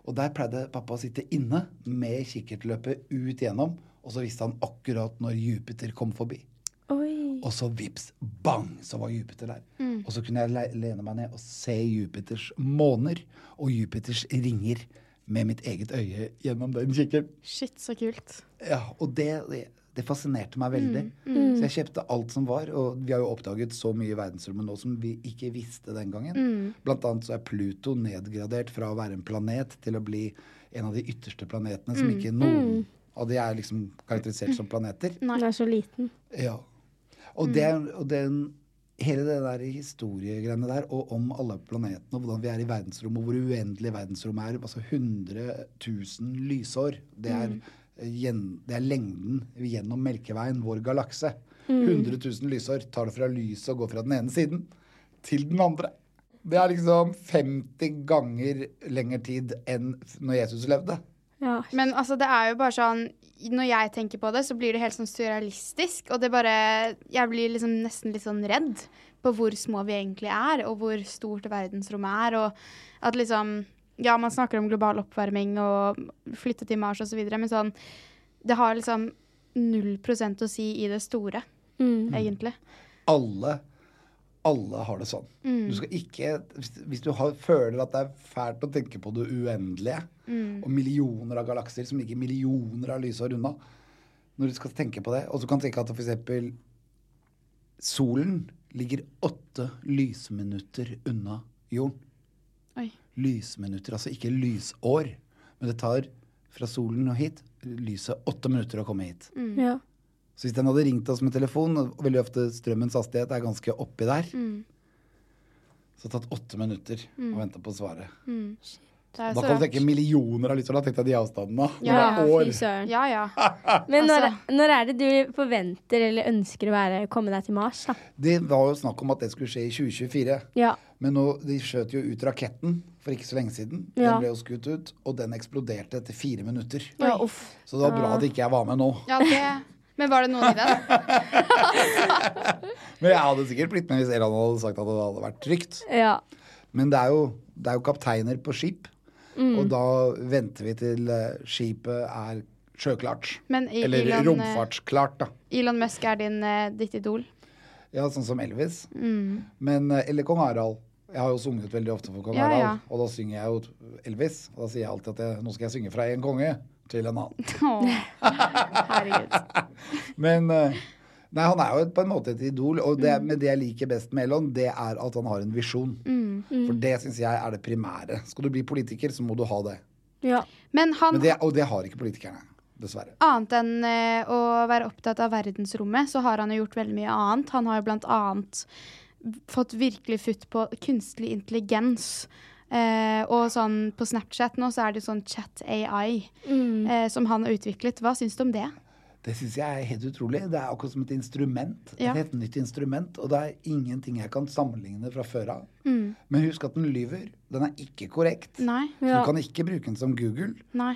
[SPEAKER 4] Og der pleide pappa å sitte inne med kikkertløpet ut igjennom, og så visste han akkurat når Jupiter kom forbi.
[SPEAKER 3] Oi.
[SPEAKER 4] Og så vips, bang, så var Jupiter der. Og så kunne jeg le- lene meg ned og se Jupiters måner og Jupiters ringer med mitt eget øye gjennom den kikken.
[SPEAKER 1] Shit, så kult.
[SPEAKER 4] Ja, og det, det- det fascinerte meg veldig. Så jeg kjøpte alt som var, og vi har jo oppdaget så mye i verdensrommet nå som vi ikke visste den gangen. Blant annet så er Pluto nedgradert fra å være en planet til å bli en av de ytterste planetene som ikke noen av de er liksom karakterisert som planeter.
[SPEAKER 3] Den er så liten.
[SPEAKER 4] Ja. Og, det, og den, hele det der historiegreiene der, og om alle planetene, og hvordan vi er i verdensrommet, og hvor uendelig verdensrommet er, altså 100 000 lysår, det er, eh, gjen, det er lengden gjennom Melkeveien, vår galakse. 100 000 lysår tar det fra lyset og går fra den ene siden til den andre. Det er liksom 50 ganger lengre tid enn f- når Jesus levde.
[SPEAKER 3] Ja.
[SPEAKER 1] Men altså, det er jo bare sånn Når jeg tenker på det, så blir det helt sånn surrealistisk. Og det bare Jeg blir liksom nesten litt sånn redd på hvor små vi egentlig er, og hvor stort verdensrommet er, og at liksom Ja, man snakker om global oppvarming og flytte til Mars osv., men sånn Det har liksom null prosent å si i det store, egentlig.
[SPEAKER 4] alle, alle har det sånn. Du skal ikke, hvis, hvis du har, føler at det er fælt å tenke på det uendelige, og millioner av galakser som ligger millioner av lysår unna, når du skal tenke på det, og du kan tenke at f.eks. solen ligger åtte lysminutter unna jorden.
[SPEAKER 1] Oi.
[SPEAKER 4] Lysminutter, altså ikke lysår, men det tar fra solen og hit lyset åtte minutter å komme hit.
[SPEAKER 3] Ja.
[SPEAKER 4] Så hvis den hadde ringt oss med telefon, og veldig ofte strømmens hastighet er ganske oppi der,
[SPEAKER 1] Mm.
[SPEAKER 4] så det hadde tatt åtte minutter å vente på svaret.
[SPEAKER 1] Det er
[SPEAKER 4] Da
[SPEAKER 1] jo så
[SPEAKER 4] kan du
[SPEAKER 1] rart.
[SPEAKER 4] tenke millioner av lyttere, da tenkte jeg de avstandene. Når
[SPEAKER 3] ja.
[SPEAKER 4] det er år.
[SPEAKER 3] Fy søren. Altså.
[SPEAKER 1] Ja, ja.
[SPEAKER 3] Men når, når er det du forventer eller ønsker å være, komme deg til Mars, da?
[SPEAKER 4] Det var jo snakk om at det skulle skje i 2024.
[SPEAKER 3] Ja.
[SPEAKER 4] Men nå, de skjøt jo ut raketten for ikke så lenge siden.
[SPEAKER 3] Ja.
[SPEAKER 4] Den ble jo skutt ut, og den eksploderte etter fire minutter.
[SPEAKER 3] ja uff.
[SPEAKER 4] Så det
[SPEAKER 1] Ah.
[SPEAKER 4] var bra at ikke jeg var med nå.
[SPEAKER 1] ja det, men var det noen i den?
[SPEAKER 4] Men jeg hadde sikkert blitt med hvis Elan hadde sagt at det hadde vært trygt.
[SPEAKER 3] Ja.
[SPEAKER 4] Men det er jo, det er jo kapteiner på skip,
[SPEAKER 1] Mm.
[SPEAKER 4] og da venter vi til eh, skipet er sjøklart.
[SPEAKER 1] Men i-
[SPEAKER 4] Eller
[SPEAKER 1] Elon, eh,
[SPEAKER 4] romfartsklart, da.
[SPEAKER 1] Elon Musk er din, eh, ditt idol.
[SPEAKER 4] Ja, sånn som Elvis.
[SPEAKER 1] Mm.
[SPEAKER 4] Men, eh, eller kong Harald. Jeg har jo sunget veldig ofte for kong
[SPEAKER 1] Ja,
[SPEAKER 4] Harald,
[SPEAKER 1] ja.
[SPEAKER 4] og da synger jeg jo Elvis. Og da sier jeg alltid at jeg, nå skal jeg synge fra en konge til
[SPEAKER 1] [laughs]
[SPEAKER 4] en annen.
[SPEAKER 1] Åh, herregud.
[SPEAKER 4] Men eh, Nei, han er jo et, på en måte et idol, og
[SPEAKER 1] Mm.
[SPEAKER 4] det, men det jeg liker best med Elon, det er at han har en visjon.
[SPEAKER 1] Mm.
[SPEAKER 4] For det syns jeg er det primære. Skal du bli politiker, så må du ha det.
[SPEAKER 3] Ja.
[SPEAKER 1] Men han,
[SPEAKER 4] Men det, og det har ikke politikerne, dessverre.
[SPEAKER 1] annet enn eh, å være opptatt av verdensrommet, så har han jo gjort veldig mye annet. Han har jo blant annet fått virkelig futt på kunstig intelligens. Eh, og sånn på Snapchat nå så er det sånn chat AI
[SPEAKER 3] Mm.
[SPEAKER 1] eh, som han har utviklet. Hva syns du om det?
[SPEAKER 4] Det syns jeg er helt utrolig. Det er akkurat som et instrument.
[SPEAKER 1] Ja.
[SPEAKER 4] Et helt nytt instrument. Og det er ingenting jeg kan sammenligne fra før av.
[SPEAKER 1] Mm.
[SPEAKER 4] Men husk at den lyver. Den er ikke korrekt.
[SPEAKER 1] Nei?
[SPEAKER 4] Så du kan ikke bruke den som Google.
[SPEAKER 1] Nei.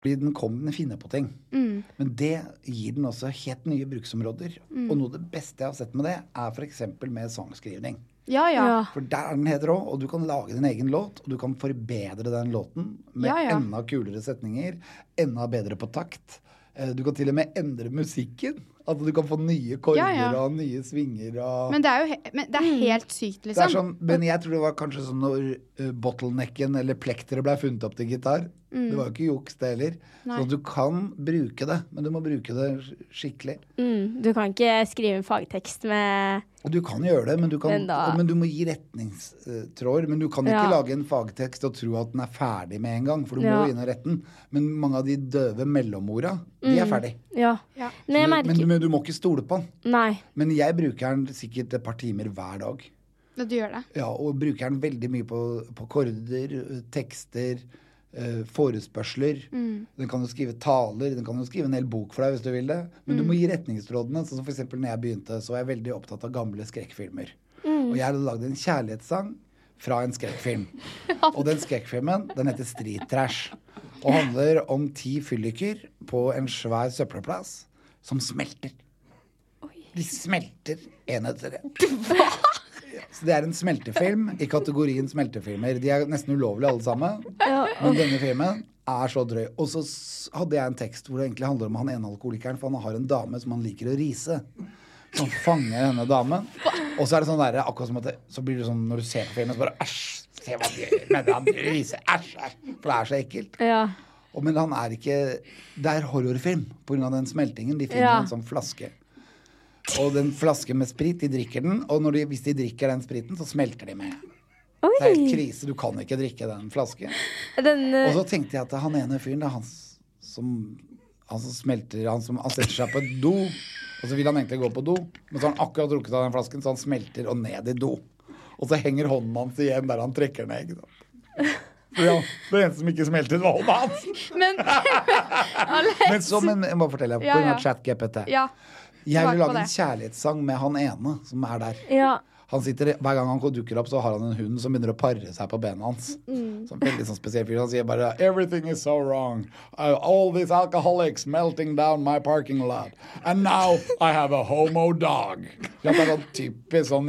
[SPEAKER 4] Fordi den kommer med finne på ting.
[SPEAKER 1] Mm.
[SPEAKER 4] Men det gir den også helt nye bruksområder.
[SPEAKER 1] Mm.
[SPEAKER 4] Og noe av det beste jeg har sett med det, er f.eks. med sangskrivning.
[SPEAKER 1] Ja, ja.
[SPEAKER 3] Ja.
[SPEAKER 4] For der er den helt rå, og du kan lage din egen låt, og du kan forbedre den låten med
[SPEAKER 1] Ja, ja.
[SPEAKER 4] enda kulere setninger, enda bedre på takt. Eh, Du kan til og med endre musikken. At du kan få nye korder
[SPEAKER 1] Ja, ja.
[SPEAKER 4] og nye svinger og
[SPEAKER 1] Men det er jo he men det er helt sykt,
[SPEAKER 4] det er
[SPEAKER 1] liksom.
[SPEAKER 4] sånn, men jeg tror det var kanskje sånn når eh, bottlenecken eller plekteret ble funnet opp til gitar.
[SPEAKER 1] Mm.
[SPEAKER 4] Det var jo ikke juks, det heller. Så du kan bruke det, men du må bruke det sk- skikkelig.
[SPEAKER 3] Mm, du kan ikke skrive en fagtekst med
[SPEAKER 4] Og du kan gjøre det, men du, kan,
[SPEAKER 3] Men da-
[SPEAKER 4] men du må gi retningstråder. Men du kan ikke
[SPEAKER 3] Ja.
[SPEAKER 4] lage en fagtekst og tro at den er ferdig med en gang, for du må
[SPEAKER 3] Ja.
[SPEAKER 4] jo inn og rette den. Men mange av de døve mellomorda, de er ferdig.
[SPEAKER 3] Ja.
[SPEAKER 1] Ja.
[SPEAKER 3] Men Mm. jeg
[SPEAKER 4] Men,
[SPEAKER 3] merker
[SPEAKER 4] du, men du må ikke stole på den.
[SPEAKER 3] Nei.
[SPEAKER 4] Men jeg bruker den sikkert et par timer hver dag.
[SPEAKER 1] Ja, du gjør det.
[SPEAKER 4] [laughs] Ja, og bruker den veldig mye på, på korder, tekster, eh, forespørsler. Den kan jo skrive taler, den kan jo skrive en hel bok for deg hvis du vil det. Men du må gi retningsrådene. Sånn som for eksempel når jeg begynte, så var jeg veldig opptatt av gamle skrekkfilmer. Og jeg hadde lagd en kjærlighetssang fra en skrekkfilm. Og den skrekkfilmen, den heter Street Trash. Og handler om ti fylliker på en svær søppelplass som smelter. De smelter én etter en. Så det er en smeltefilm i kategorien smeltefilmer. De er nesten ulovlige alle sammen. Men denne filmen er så drøy. Og så s- hadde jeg en tekst hvor det egentlig handler om han ene alkoholikeren, for han har en dame som han liker å rise. Som fanger denne damen. Og så er det sånn der, akkurat som at det, så blir det sånn når du ser på filmen, så bare æsj! Se hva han gjør med den rise. Æsj, æsj! For det er så ekkelt.
[SPEAKER 3] Ja.
[SPEAKER 4] Og, men han er ikke Det er horrorfilm pga. den smeltingen. De finner
[SPEAKER 3] Ja.
[SPEAKER 4] en sånn flaske. Og den flasken med sprit, de drikker den. Og når de, hvis de drikker den spriten, så smelter de med. Det er helt
[SPEAKER 3] Oi!
[SPEAKER 4] krise. Du kan ikke drikke den flasken.
[SPEAKER 3] Den eh,
[SPEAKER 4] Og så tenkte jeg at han ene fyren, det er han s- som Han som smelter Han som han setter seg på et do, og så vil han egentlig gå på do, men så har han akkurat drukket av den flasken, så han smelter og ned i do. Og så henger hånden hans igjen der han trekker ned, ikke
[SPEAKER 3] [laughs]
[SPEAKER 4] sant. For ja, det eneste som ikke smeltet, var hånda hans.
[SPEAKER 1] Men [laughs] Alex
[SPEAKER 4] Men så, men jeg må fortelle, på
[SPEAKER 1] Ja,
[SPEAKER 4] grunn
[SPEAKER 1] ja.
[SPEAKER 4] av ChatGPT.
[SPEAKER 1] Ja.
[SPEAKER 4] Jeg
[SPEAKER 1] tilbake på
[SPEAKER 4] vil lage en
[SPEAKER 1] det.
[SPEAKER 4] kjærlighetssang med han ene som er der.
[SPEAKER 3] Ja.
[SPEAKER 4] Han sitter, Hver gang han dukker opp, så har han en hund som begynner å pare seg på bena hans.
[SPEAKER 1] Mm.
[SPEAKER 4] Så en veldig sånn spesiell fyr. Han sier bare 'Everything is so wrong. Uh, all these alcoholics melting down my parking lot. And now I have a homo dog'. Ja, det er sånn typisk sånn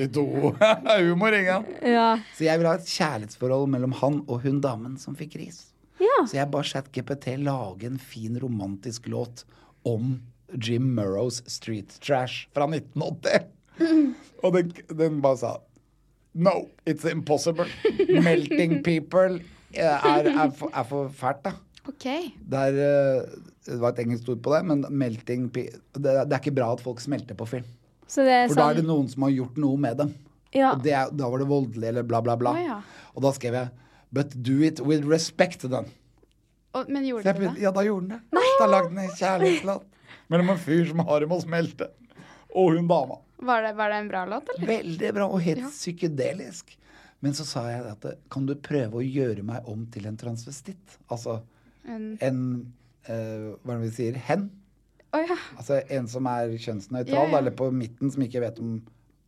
[SPEAKER 4] [laughs] 1972-humor, ikke sant?
[SPEAKER 3] ja.
[SPEAKER 4] Så jeg vil ha et kjærlighetsforhold mellom han og hun damen som fikk ris.
[SPEAKER 3] Ja.
[SPEAKER 4] Så jeg ba ChatGPT lage en fin romantisk låt om Jim Murrows Street Trash fra 1980. Og den, den bare sa No, it's impossible. Melting people eh, er, er, for, er for fælt, da.
[SPEAKER 1] OK.
[SPEAKER 4] Det, er, eh, det var et engelsk ord på det, men melting pe det, er- det er ikke bra at folk smelter på film.
[SPEAKER 3] Så det er
[SPEAKER 4] For da er det
[SPEAKER 3] sånn
[SPEAKER 4] noen som har gjort noe med dem.
[SPEAKER 3] Ja.
[SPEAKER 4] Og det, er- da var det voldelig, eller bla, bla, bla.
[SPEAKER 1] Å, ja.
[SPEAKER 4] Og da skrev jeg But do it with respect to them.
[SPEAKER 1] Og, men
[SPEAKER 4] Så
[SPEAKER 1] gjorde
[SPEAKER 4] jeg
[SPEAKER 1] du
[SPEAKER 4] begynte,
[SPEAKER 1] det?
[SPEAKER 4] ja, da gjorde den det. Da lagde den en kjærlighetslåt mellom en fyr som har dem å smelte, og hun dama.
[SPEAKER 1] Var det, var det en bra låt, eller?
[SPEAKER 4] Veldig bra, og helt psykedelisk. Men så sa jeg at kan du prøve å gjøre meg om til en transvestitt? Altså en, eh, Hva er det vi sier? Hen? Altså en som er kjønnsnøytral,
[SPEAKER 1] Ja, ja.
[SPEAKER 4] eller på midten, som ikke vet om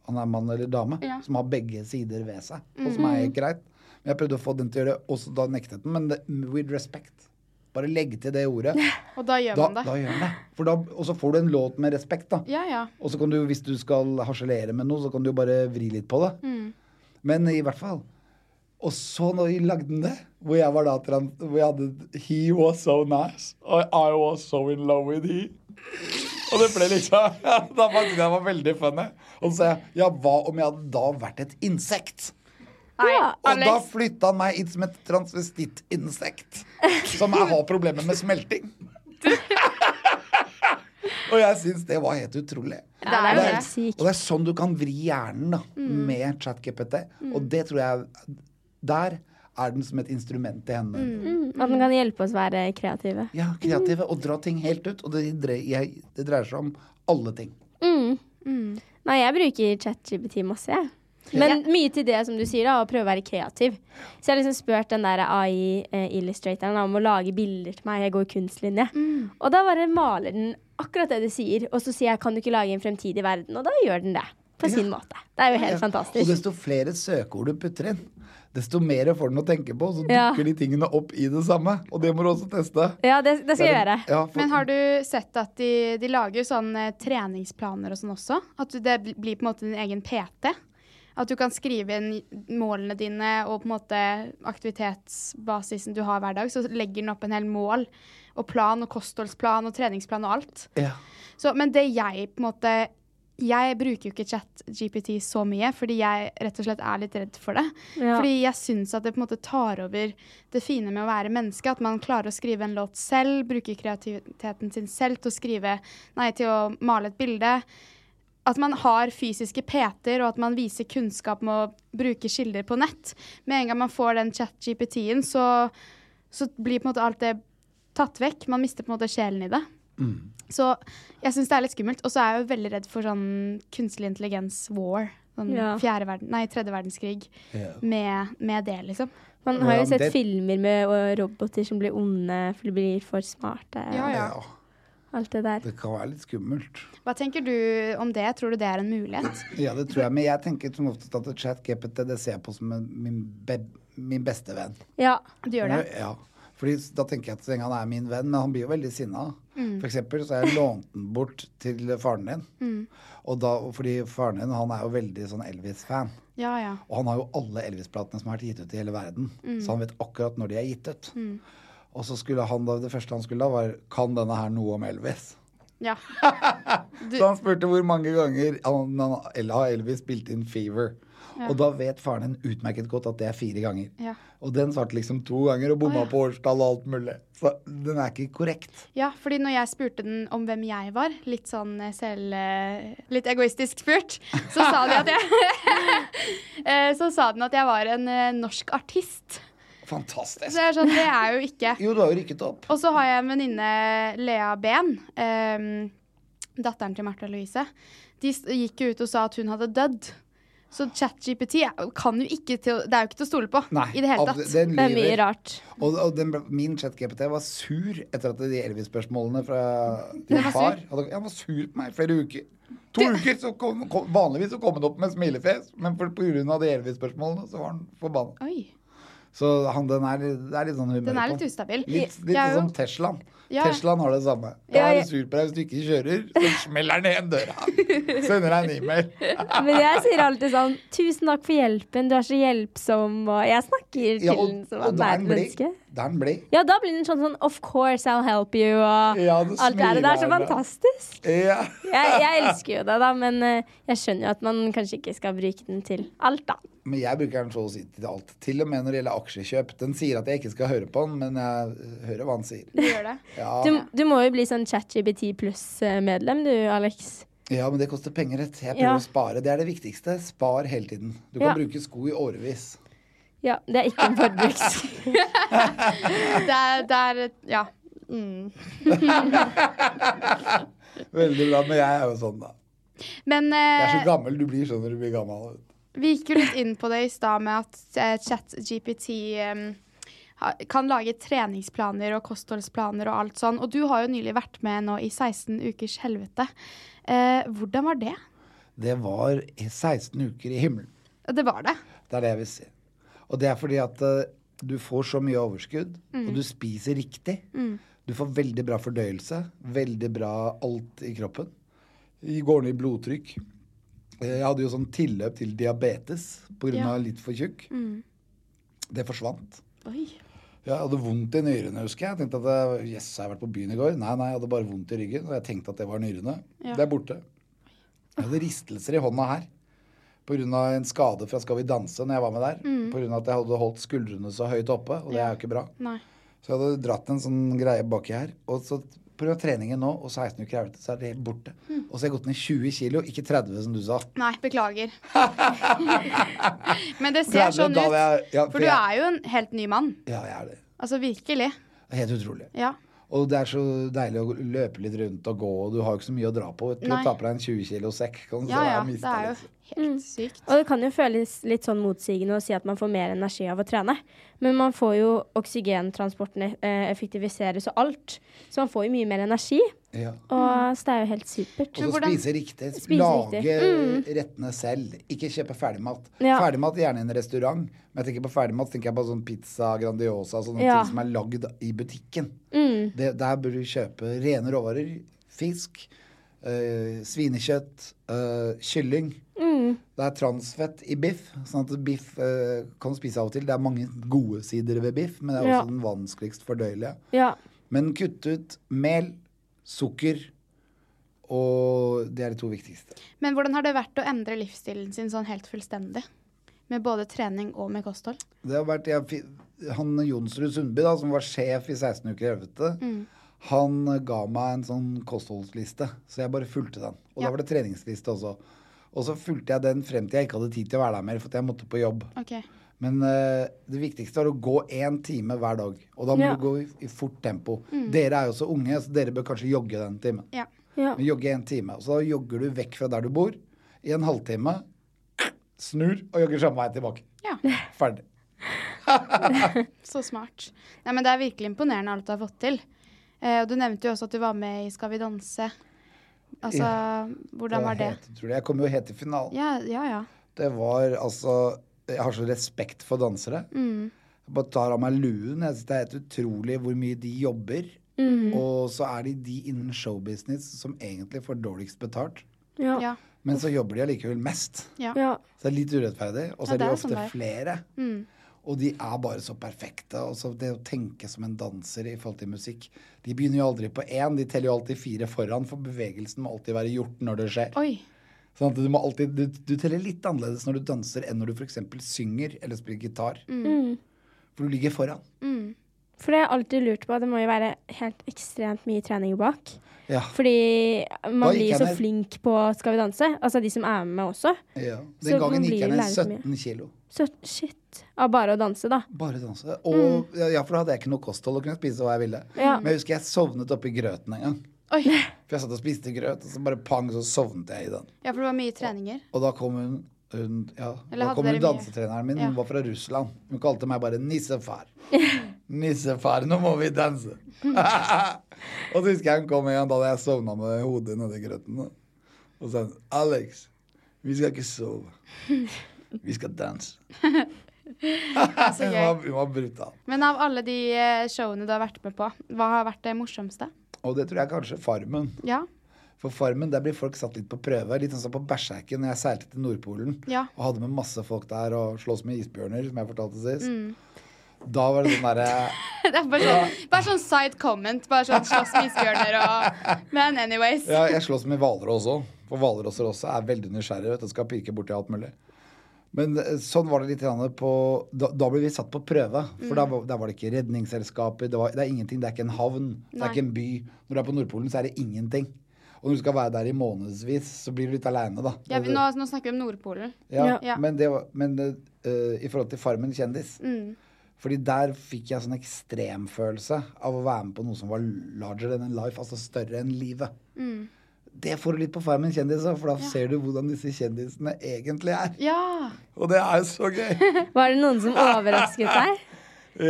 [SPEAKER 4] han er mann eller dame.
[SPEAKER 1] Ja. Mm.
[SPEAKER 4] Som har begge sider ved seg, og som er helt greit. Men jeg prøvde å få den til å gjøre det, og så da nektet den. Men det, with respect. Bare legg til det ordet.
[SPEAKER 1] [laughs] Og da gjør
[SPEAKER 4] Da,
[SPEAKER 1] man det.
[SPEAKER 4] da gjør den det. For da, og så får du en låt med respekt, da.
[SPEAKER 1] Ja, ja.
[SPEAKER 4] Og så kan du, hvis du skal harselere med noe, så kan du jo bare vri litt på det.
[SPEAKER 1] Mm.
[SPEAKER 4] Men i hvert fall. Og så når vi lagde den det, hvor jeg var da til han hvor jeg hadde He was so nice. Og I was so in love with he. Og det ble liksom [laughs] Da fant jeg det var veldig funny. Og så sa jeg ja, hva om jeg hadde da vært et insekt?
[SPEAKER 1] Nei,
[SPEAKER 4] Og da
[SPEAKER 1] Alex.
[SPEAKER 4] flytta han meg inn som et transvestittinsekt som jeg har problemer med smelting. [laughs] og jeg syns det var helt utrolig.
[SPEAKER 1] Det er jo
[SPEAKER 4] Og
[SPEAKER 1] det.
[SPEAKER 4] Og det er sånn du kan vri hjernen da,
[SPEAKER 3] Mm.
[SPEAKER 4] med ChatGPT. Og det tror jeg Der er den som et instrument i hendene.
[SPEAKER 3] Mm, at den kan hjelpe oss være kreative.
[SPEAKER 4] Ja, kreative. Og dra ting helt ut. Og det, dre- jeg, det dreier seg om alle ting.
[SPEAKER 3] Mm. Nei, jeg bruker ChatGPT masse, jeg. Men mye til det som du sier, da, å prøve å være kreativ. Så jeg har liksom spurt den der AI-illustratoren om å lage bilder til meg. Jeg går kunstlinje.
[SPEAKER 1] Mm.
[SPEAKER 3] Og da bare maler den akkurat det du sier, og så sier jeg 'kan du ikke lage en fremtidig verden'? Og da gjør den det. På sin måte. Det er jo helt
[SPEAKER 4] Ja. Og
[SPEAKER 3] fantastisk.
[SPEAKER 4] desto flere søkeord du putter inn, desto mer får den å tenke på. Så
[SPEAKER 3] Ja.
[SPEAKER 4] dukker de tingene opp i det samme. Og det må du også teste.
[SPEAKER 3] Ja, det, det skal jeg gjøre.
[SPEAKER 4] Ja, for,
[SPEAKER 1] Men har du sett at de, de lager sånn eh, treningsplaner og sånn også? At du- det bl- blir på en måte din egen PT? At du kan skrive inn målene dine og på en måte aktivitetsbasisen du har hver dag. Så legger den opp en hel mål og plan og kostholdsplan og treningsplan og alt.
[SPEAKER 4] ja.
[SPEAKER 1] Så, men det jeg på en måte Jeg bruker jo ikke chat-GPT så mye, fordi jeg rett og slett er litt redd for det.
[SPEAKER 3] Ja.
[SPEAKER 1] Fordi jeg syns at det på en måte tar over det fine med å være menneske. At man klarer å skrive en låt selv, bruke kreativiteten sin selv til å skrive Nei, til å male et bilde. At man har fysiske PT-er, og at man viser kunnskap med å bruke kilder på nett. Med en gang man får den chat-GPT-en, så, så blir på en måte alt det tatt vekk. Man mister på en måte sjelen i det. Så jeg syns det er litt skummelt. Og så er jeg jo veldig redd for sånn kunstig intelligens war. Sånn
[SPEAKER 3] Ja.
[SPEAKER 1] fjerde verden, nei, tredje verdenskrig. Med, med det, liksom.
[SPEAKER 3] Man har jo
[SPEAKER 4] Hvordan
[SPEAKER 3] sett
[SPEAKER 4] det-
[SPEAKER 3] filmer med øh, roboter som blir onde fordi de blir for smarte.
[SPEAKER 1] Ja, ja.
[SPEAKER 4] Ja,
[SPEAKER 3] Alt det der.
[SPEAKER 4] det kan være litt skummelt.
[SPEAKER 1] Hva tenker du om det? Tror du det er en mulighet?
[SPEAKER 4] Ja, det tror jeg. Men jeg tenker som oftest at ChatGPT det ser jeg på som en- min, be min beste venn.
[SPEAKER 3] Ja.
[SPEAKER 1] Du gjør det?
[SPEAKER 4] Ja. Fordi s- da tenker jeg at så lenge han er min venn, men han blir jo veldig sinna. For eksempel så har jeg lånt den bort til faren din. Og da, fordi faren din han er jo veldig sånn Elvis-fan.
[SPEAKER 1] Ja, ja.
[SPEAKER 4] Og han har jo alle Elvis-platene som har vært gitt ut i hele verden. Så han vet akkurat når de er gitt ut. Og så skulle han da, det første han skulle da, var Kan denne her noe om Elvis?
[SPEAKER 1] ja.
[SPEAKER 4] Så han spurte hvor mange ganger han, han, eller har Elvis spilt inn Fever. Og da vet faren din utmerket godt at det er fire ganger.
[SPEAKER 1] Ja.
[SPEAKER 4] Og den svarte liksom to ganger og bomma
[SPEAKER 1] Å, ja.
[SPEAKER 4] på årstall og alt mulig. Så den er ikke korrekt.
[SPEAKER 1] Ja, fordi når jeg spurte den om hvem jeg var, litt sånn eh, selv... eh, Litt egoistisk spurt, så sa de at jeg [laughs] Eh, Så sa den at jeg var en eh, norsk artist.
[SPEAKER 4] Fantastisk.
[SPEAKER 1] Så jeg er sånn, det er jeg jo ikke.
[SPEAKER 4] Jo, du har jo rykket opp.
[SPEAKER 1] Og så har jeg en venninne, Lea Ben, ehm, datteren til Märtha Louise. De s- gikk jo ut og sa at hun hadde dødd. Så ChatGPT er- kan jo ikke til, det er jo ikke til å stole på i det hele
[SPEAKER 4] av-
[SPEAKER 1] tatt.
[SPEAKER 4] Den
[SPEAKER 3] Det er mye
[SPEAKER 4] lyver.
[SPEAKER 3] rart.
[SPEAKER 4] Og, og den, ble- min chat-GPT var sur etter at de Elvis-spørsmålene fra din
[SPEAKER 1] var sur.
[SPEAKER 4] far hadde, Han var sur på meg i flere uker. To uker, så kom, kom, Vanligvis så kom han opp med smilefjes, men for- på grunn av de Elvis-spørsmålene så var han forbanna.
[SPEAKER 1] Oi,
[SPEAKER 4] Så han, den er, det er litt sånn humør
[SPEAKER 1] den er litt
[SPEAKER 4] på.
[SPEAKER 1] ustabil.
[SPEAKER 4] Litt,
[SPEAKER 1] Jeg
[SPEAKER 4] litt
[SPEAKER 1] er jo-
[SPEAKER 4] som Teslaen.
[SPEAKER 1] Ja.
[SPEAKER 4] Teslaen har det samme. Da
[SPEAKER 3] Ja,
[SPEAKER 4] er
[SPEAKER 3] jeg-
[SPEAKER 4] du sur på deg hvis du ikke kjører, så smeller han igjen døra. Sender deg en
[SPEAKER 3] [laughs]
[SPEAKER 4] e-mail.
[SPEAKER 3] Men jeg sier alltid sånn 'Tusen takk for hjelpen, du er så hjelpsom', og jeg snakker til
[SPEAKER 4] Ja, og,
[SPEAKER 3] den som
[SPEAKER 4] og
[SPEAKER 3] om
[SPEAKER 4] da
[SPEAKER 3] det er
[SPEAKER 4] er
[SPEAKER 3] et
[SPEAKER 4] han blid.
[SPEAKER 3] menneske.
[SPEAKER 4] Da er han blid.
[SPEAKER 3] Ja, da blir den sånn sånn 'Of course I'll help you', og
[SPEAKER 4] Ja, du
[SPEAKER 3] alt det der. og Det er så
[SPEAKER 4] smiler.
[SPEAKER 3] fantastisk.
[SPEAKER 4] Ja.
[SPEAKER 3] Jeg, jeg elsker jo det, da, men eh, jeg skjønner jo at man kanskje ikke skal bruke den til alt, da.
[SPEAKER 4] Men jeg bruker den så å si til alt. Til og med når det gjelder aksjekjøp. Den sier at jeg ikke skal høre på den, men jeg eh, hører hva han sier.
[SPEAKER 1] Du gjør det.
[SPEAKER 4] Ja,
[SPEAKER 3] Du, du må jo bli sånn ChatGPT pluss-medlem, eh, du, Alex.
[SPEAKER 4] ja men det koster penger, rett. Jeg prøver
[SPEAKER 3] Ja.
[SPEAKER 4] å spare. Det er det viktigste. Spar hele tiden. Du kan
[SPEAKER 3] Ja.
[SPEAKER 4] bruke sko i årevis.
[SPEAKER 3] Ja, det er ikke en
[SPEAKER 4] [laughs]
[SPEAKER 3] forbruks...
[SPEAKER 1] Det er, det er ja. Mm.
[SPEAKER 4] Veldig bra, men jeg er jo sånn, da.
[SPEAKER 1] Men
[SPEAKER 4] Jeg er så
[SPEAKER 1] eh,
[SPEAKER 4] gammel du blir sånn når du blir gammel.
[SPEAKER 1] vi gikk jo litt inn på det i stad med at eh, ChatGPT eh, ha- kan lage treningsplaner og kostholdsplaner og alt sånn. Og du har jo nylig vært med nå i 16 ukers helvete. Eh, hvordan var det?
[SPEAKER 4] Det var 16 uker i himmelen.
[SPEAKER 1] Det var det.
[SPEAKER 4] Det er det jeg vil si. Og det er fordi at eh, du får så mye overskudd,
[SPEAKER 1] Mm.
[SPEAKER 4] og du spiser riktig.
[SPEAKER 1] Mm.
[SPEAKER 4] Du får veldig bra fordøyelse, veldig bra alt i kroppen. I går ned i blodtrykk. Eh, Jeg hadde jo sånn tilløp til diabetes pga.
[SPEAKER 1] Ja.
[SPEAKER 4] av litt for tjukk.
[SPEAKER 1] Mm.
[SPEAKER 4] Det forsvant.
[SPEAKER 1] Oi.
[SPEAKER 4] Jeg hadde vondt i nyrene, husker jeg. Jeg tenkte at eh, yes, jeg har vært på byen i går. Nei, nei, jeg hadde bare vondt i ryggen, og jeg tenkte at det var nyrene.
[SPEAKER 1] Ja.
[SPEAKER 4] Det er borte. Jeg hadde ristelser i hånda her pga. en skade fra Skal vi danse når jeg var med der.
[SPEAKER 1] Mm.
[SPEAKER 4] Pga. at jeg hadde holdt skuldrene så høyt oppe, og det er jo ikke bra.
[SPEAKER 1] Nei.
[SPEAKER 4] Så jeg hadde dratt en sånn greie baki her. Og så prøv treningen nå, og 16 uker er det, så er det helt borte.
[SPEAKER 1] Mm.
[SPEAKER 4] Og så har jeg gått ned 20 kilo, ikke 30 som du sa.
[SPEAKER 1] Nei, beklager. Men det ser
[SPEAKER 4] 30,
[SPEAKER 1] sånn
[SPEAKER 4] da
[SPEAKER 1] ut.
[SPEAKER 4] hadde jeg- ja,
[SPEAKER 1] for du er jo en helt ny mann.
[SPEAKER 4] Ja, jeg er det.
[SPEAKER 1] Altså virkelig.
[SPEAKER 4] Det er Helt utrolig.
[SPEAKER 1] Ja.
[SPEAKER 4] Og det er så deilig å løpe litt rundt og gå, og du har jo ikke så mye å dra på. Prøv
[SPEAKER 1] Nei.
[SPEAKER 4] å ta på deg en 20 kilo sekk. Kan du
[SPEAKER 3] Ja,
[SPEAKER 4] se, jeg
[SPEAKER 3] ja,
[SPEAKER 4] har mistet
[SPEAKER 3] det er jo
[SPEAKER 4] litt.
[SPEAKER 1] Helt sykt.
[SPEAKER 3] Og det kan jo føles litt sånn motsigende å si at man får mer energi av å trene. Men man får jo oksygentransporten eh, effektiviseres og alt. Så man får jo mye mer energi.
[SPEAKER 4] Ja.
[SPEAKER 3] Og så det er jo helt supert.
[SPEAKER 4] Og så spise riktig.
[SPEAKER 3] Spise
[SPEAKER 4] Lage
[SPEAKER 3] riktig.
[SPEAKER 4] rettene selv. Ikke kjøpe ferdigmat.
[SPEAKER 3] Ja.
[SPEAKER 4] Ferdigmat gjerne i en restaurant, men jeg tenker på ferdigmat så tenker jeg på sånn pizza Grandiosa, sånne
[SPEAKER 3] Ja.
[SPEAKER 4] ting som er lagd i butikken.
[SPEAKER 3] Mm.
[SPEAKER 4] Det, der bør du kjøpe rene råvarer. Fisk, eh, svinekjøtt, eh, kylling.
[SPEAKER 3] Mm.
[SPEAKER 4] Det er transfett i biff, sånn at biff eh, kan du spise av og til. Det er mange gode sider ved biff, men det er også
[SPEAKER 3] Ja.
[SPEAKER 4] den vanskeligst fordøyelige.
[SPEAKER 3] Ja.
[SPEAKER 4] Men kutt ut mel, sukker, og det er de to viktigste.
[SPEAKER 1] Men hvordan har det vært å endre livsstilen sin sånn helt fullstendig? Med både trening og med kosthold?
[SPEAKER 4] Det har vært jeg, fi- Han Jonsrud Sundby, da, som var sjef i 16 uker i helvete,
[SPEAKER 1] Mm.
[SPEAKER 4] han ga meg en sånn kostholdsliste, så jeg bare fulgte den. Og
[SPEAKER 1] Ja.
[SPEAKER 4] da var det treningsliste også. Og så fulgte jeg den frem til jeg ikke hadde tid til å være der mer, for at jeg måtte på jobb.
[SPEAKER 1] Ok.
[SPEAKER 4] Men eh, det viktigste er å gå én time hver dag. Og da må
[SPEAKER 1] Ja.
[SPEAKER 4] du gå i, i fort tempo.
[SPEAKER 1] Mm.
[SPEAKER 4] Dere er jo så unge, så dere bør kanskje jogge den timen.
[SPEAKER 1] Ja.
[SPEAKER 4] Men Jogge en time. Og så jogger du vekk fra der du bor i en halvtime. Snur og jogger samme vei tilbake.
[SPEAKER 1] Ja.
[SPEAKER 4] Ferdig.
[SPEAKER 1] Så smart. Nei, men det er virkelig imponerende alt du har fått til. Eh, og du nevnte jo også at du var med i Skal vi danse. Altså,
[SPEAKER 4] Ja.
[SPEAKER 1] hvordan var det?
[SPEAKER 4] Helt, utrolig. jeg kom jo helt til finalen.
[SPEAKER 1] Ja, ja, ja.
[SPEAKER 4] Det var altså Jeg har så respekt for dansere.
[SPEAKER 1] Mm.
[SPEAKER 4] Jeg bare tar av meg luen. Jeg synes Det er helt utrolig hvor mye de jobber.
[SPEAKER 1] Mhm.
[SPEAKER 4] Og så er de de innen showbusiness som egentlig får dårligst betalt.
[SPEAKER 3] Ja.
[SPEAKER 1] Ja.
[SPEAKER 4] Men så jobber de allikevel mest.
[SPEAKER 1] Ja.
[SPEAKER 4] Så det er litt urettferdig. Og så
[SPEAKER 1] Ja,
[SPEAKER 4] er de
[SPEAKER 1] det er sånn
[SPEAKER 4] ofte
[SPEAKER 1] det er.
[SPEAKER 4] flere.
[SPEAKER 1] Mm.
[SPEAKER 4] Og de er bare så perfekte. Og så det å tenke som en danser i forhold til musikk De begynner jo aldri på én, de teller jo alltid fire foran, for bevegelsen må alltid være gjort når det skjer.
[SPEAKER 1] Oi.
[SPEAKER 4] Sånn at du, må alltid, du, du teller litt annerledes når du danser enn når du f.eks. synger eller spiller gitar.
[SPEAKER 3] Mm.
[SPEAKER 4] For du ligger foran.
[SPEAKER 3] For det har jeg alltid lurt på. Det må jo være helt ekstremt mye trening bak.
[SPEAKER 4] Ja.
[SPEAKER 3] Fordi
[SPEAKER 4] Da
[SPEAKER 3] man
[SPEAKER 4] gikk
[SPEAKER 3] blir
[SPEAKER 4] jeg
[SPEAKER 3] så
[SPEAKER 4] ned.
[SPEAKER 3] flink på Skal vi danse. Altså de som er med meg også.
[SPEAKER 4] ja. Den
[SPEAKER 3] Så man
[SPEAKER 4] gangen gikk
[SPEAKER 3] blir
[SPEAKER 4] jeg
[SPEAKER 3] jo
[SPEAKER 4] ned
[SPEAKER 3] lærer så mye.
[SPEAKER 4] 17 kilo.
[SPEAKER 3] Så shit. Av bare å danse, da.
[SPEAKER 4] Bare danse. Og,
[SPEAKER 1] Mm.
[SPEAKER 4] ja, ja, for da hadde jeg ikke noe kosthold og kunne spise hva jeg ville.
[SPEAKER 3] Ja.
[SPEAKER 4] Men jeg husker jeg sovnet oppi grøten en gang.
[SPEAKER 1] Oi.
[SPEAKER 4] For jeg satt og spiste grøt, og så bare pang, så sovnet jeg i den.
[SPEAKER 1] Ja, for det var mye treninger.
[SPEAKER 4] Og da kom hun, hun ja,
[SPEAKER 1] Eller
[SPEAKER 4] da
[SPEAKER 1] hadde
[SPEAKER 4] kom hun
[SPEAKER 1] dere mye?
[SPEAKER 4] dansetreneren min.
[SPEAKER 1] Ja.
[SPEAKER 4] Hun var fra Russland. Hun kalte meg
[SPEAKER 1] [laughs]
[SPEAKER 4] bare 'nissefar'. 'Nissefar, nå må vi danse'. [laughs] og så husker jeg hun kom en gang da hadde jeg sovna med hodet nedi grøten. da. Og sa hun 'Alex, vi skal ikke
[SPEAKER 1] [laughs]
[SPEAKER 4] sove. Vi skal danse'.
[SPEAKER 1] så
[SPEAKER 4] hun,
[SPEAKER 1] gøy.
[SPEAKER 4] var, hun var brutal.
[SPEAKER 1] Men av alle de eh, showene du har vært med på, hva har vært det morsomste?
[SPEAKER 4] Og det tror jeg kanskje Farmen.
[SPEAKER 1] Ja. [laughs]
[SPEAKER 4] For Farmen, der blir folk satt litt på prøve. Litt sånn som på Berserken når jeg seilte til Nordpolen.
[SPEAKER 1] Ja.
[SPEAKER 4] Og hadde med masse folk der og slåss med isbjørner, som jeg fortalte sist.
[SPEAKER 1] Mm.
[SPEAKER 4] Da var det sånn derre
[SPEAKER 1] Det er bare sånn, bare sånn side comment. Bare sånn slåss med isbjørner og Men anyways.
[SPEAKER 4] Ja, jeg slåss med hvalere også. For hvalrosser også er veldig nysgjerrige vet du, og skal pirke borti alt mulig. Men eh, sånn var det litt grann på Da, da ble vi satt på prøve. For
[SPEAKER 5] Mm.
[SPEAKER 4] da, var- der var det ikke redningsselskaper, det, var, det er ingenting. Det er ikke en havn, det
[SPEAKER 5] Nei.
[SPEAKER 4] er ikke en by. Når du er på Nordpolen, så er det ingenting. Og når du skal være der i månedsvis, så blir du litt aleine, da.
[SPEAKER 1] Ja, vi, nå, nå snakker vi om Nordpolen.
[SPEAKER 4] Ja, Men, det var, men eh, i forhold til Farmen kjendis
[SPEAKER 1] Mm.
[SPEAKER 4] Fordi der fikk jeg sånn ekstremfølelse av å være med på noe som var larger than life, altså større enn livet.
[SPEAKER 1] Mm.
[SPEAKER 4] Det får du litt på Farmen kjendis også, for da
[SPEAKER 1] Ja.
[SPEAKER 4] ser du hvordan disse kjendisene egentlig er.
[SPEAKER 1] Ja.
[SPEAKER 4] Og det er jo så gøy! [laughs]
[SPEAKER 3] Var det noen som overrasket deg?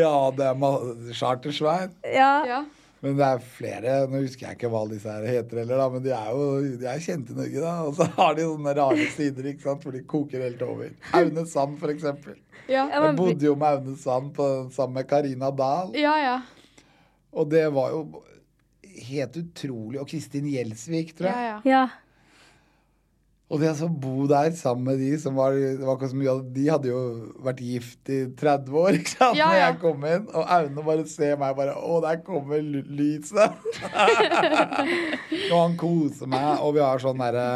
[SPEAKER 4] Ja, det er ma- chartersvein.
[SPEAKER 3] Ja.
[SPEAKER 4] Men det er flere, nå husker jeg ikke hva disse her heter heller, da, men de er jo de er kjente i Norge, da. Og så har de sånne rare sider, ikke sant, hvor de koker helt over. Aune Sand, for eksempel.
[SPEAKER 1] Ja.
[SPEAKER 4] Jeg bodde jo med Aune Sand på, sammen med Karina Dahl,
[SPEAKER 1] Ja, ja.
[SPEAKER 4] og det var jo helt utrolig. Og Kristin Gjelsvik, tror
[SPEAKER 1] ja,
[SPEAKER 4] jeg.
[SPEAKER 1] ja.
[SPEAKER 3] ja.
[SPEAKER 4] Og det å så bo der sammen med de som var, det var ikke så mye, av- De hadde jo vært gift i 30 år [laughs] ikke sant?
[SPEAKER 1] Ja,
[SPEAKER 4] når
[SPEAKER 1] ja.
[SPEAKER 4] jeg kom inn. Og Aune bare ser meg bare Å, der kommer Lu-
[SPEAKER 1] [laughs]
[SPEAKER 4] lyset! [laughs] og han koser meg, og vi har sånn derre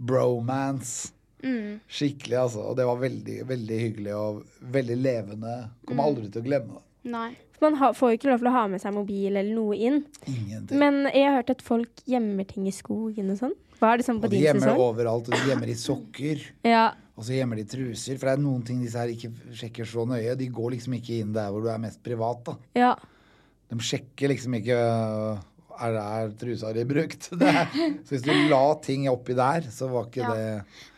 [SPEAKER 4] bromance.
[SPEAKER 1] Mm.
[SPEAKER 4] Skikkelig, altså. Og det var veldig, veldig hyggelig og veldig levende.
[SPEAKER 1] Mm.
[SPEAKER 4] Kommer aldri til å glemme det.
[SPEAKER 1] Nei.
[SPEAKER 3] For Man har, får jo ikke lov til å ha med seg mobil eller noe inn.
[SPEAKER 4] Ingenting.
[SPEAKER 3] Men jeg har hørt at folk gjemmer ting i skogen og sånn. Var det sånn på
[SPEAKER 4] og de
[SPEAKER 3] din
[SPEAKER 4] gjemmer
[SPEAKER 3] sesong?
[SPEAKER 4] overalt. Og de gjemmer i sokker.
[SPEAKER 3] Ja.
[SPEAKER 4] Og så gjemmer de truser, for det er noen ting disse her ikke sjekker så nøye. De går liksom ikke inn der hvor du er mest privat, da.
[SPEAKER 3] Ja.
[SPEAKER 4] De sjekker liksom ikke øh, er, er trusa di brukt? [laughs] Det er, så hvis du la ting oppi der, så var ikke
[SPEAKER 1] Ja.
[SPEAKER 4] det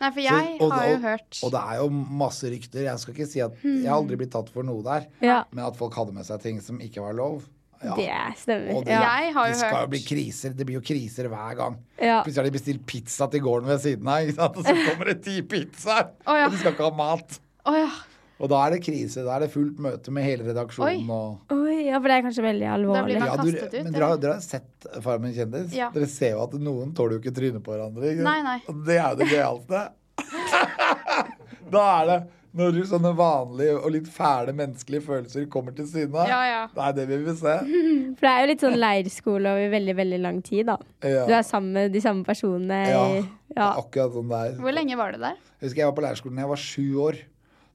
[SPEAKER 1] Nei, for
[SPEAKER 4] så-
[SPEAKER 1] jeg
[SPEAKER 4] og-
[SPEAKER 1] har jo
[SPEAKER 4] og-
[SPEAKER 1] hørt
[SPEAKER 4] Og det er jo masse rykter. Jeg skal ikke si at jeg har aldri blitt tatt for noe der,
[SPEAKER 3] Ja.
[SPEAKER 4] men at folk hadde med seg ting som ikke var lov. Ja.
[SPEAKER 3] Det stemmer.
[SPEAKER 4] Og det,
[SPEAKER 3] ja.
[SPEAKER 1] Jeg har jo
[SPEAKER 4] det skal
[SPEAKER 1] hørt-
[SPEAKER 4] jo bli kriser. Det blir jo kriser hver gang.
[SPEAKER 3] Ja.
[SPEAKER 4] Plutselig har de bestilt pizza til gården ved siden av, ikke sant? og så kommer det ti pizzaer!
[SPEAKER 1] Å, ja.
[SPEAKER 4] Og de skal ikke ha mat.
[SPEAKER 1] Å ja.
[SPEAKER 4] Og da er det krise. Da er det fullt møte med hele redaksjonen. og...
[SPEAKER 3] Oi, ja, for det er kanskje veldig alvorlig.
[SPEAKER 1] blir man
[SPEAKER 4] du,
[SPEAKER 1] kastet ut,
[SPEAKER 4] men dere, har-
[SPEAKER 1] eller?
[SPEAKER 4] dere har sett Farmen kjendis?
[SPEAKER 1] Ja.
[SPEAKER 4] Dere ser jo at noen tåler jo ikke trynet på hverandre. Ikke? sant?
[SPEAKER 1] Nei, nei.
[SPEAKER 4] Og det er jo det gøyalte. [laughs] da er det når sånne vanlige og litt fæle menneskelige følelser kommer til syne.
[SPEAKER 1] Ja, ja.
[SPEAKER 4] Det er det vi vil se.
[SPEAKER 3] For det er jo litt sånn leirskole over veldig, veldig lang tid, da.
[SPEAKER 4] Ja.
[SPEAKER 3] Du er sammen med de samme personene
[SPEAKER 4] Ja,
[SPEAKER 3] i
[SPEAKER 4] det
[SPEAKER 3] Ja.
[SPEAKER 4] er akkurat sånn det er.
[SPEAKER 1] Hvor lenge var det der?
[SPEAKER 4] Jeg husker jeg var på leirskolen da jeg var sju år.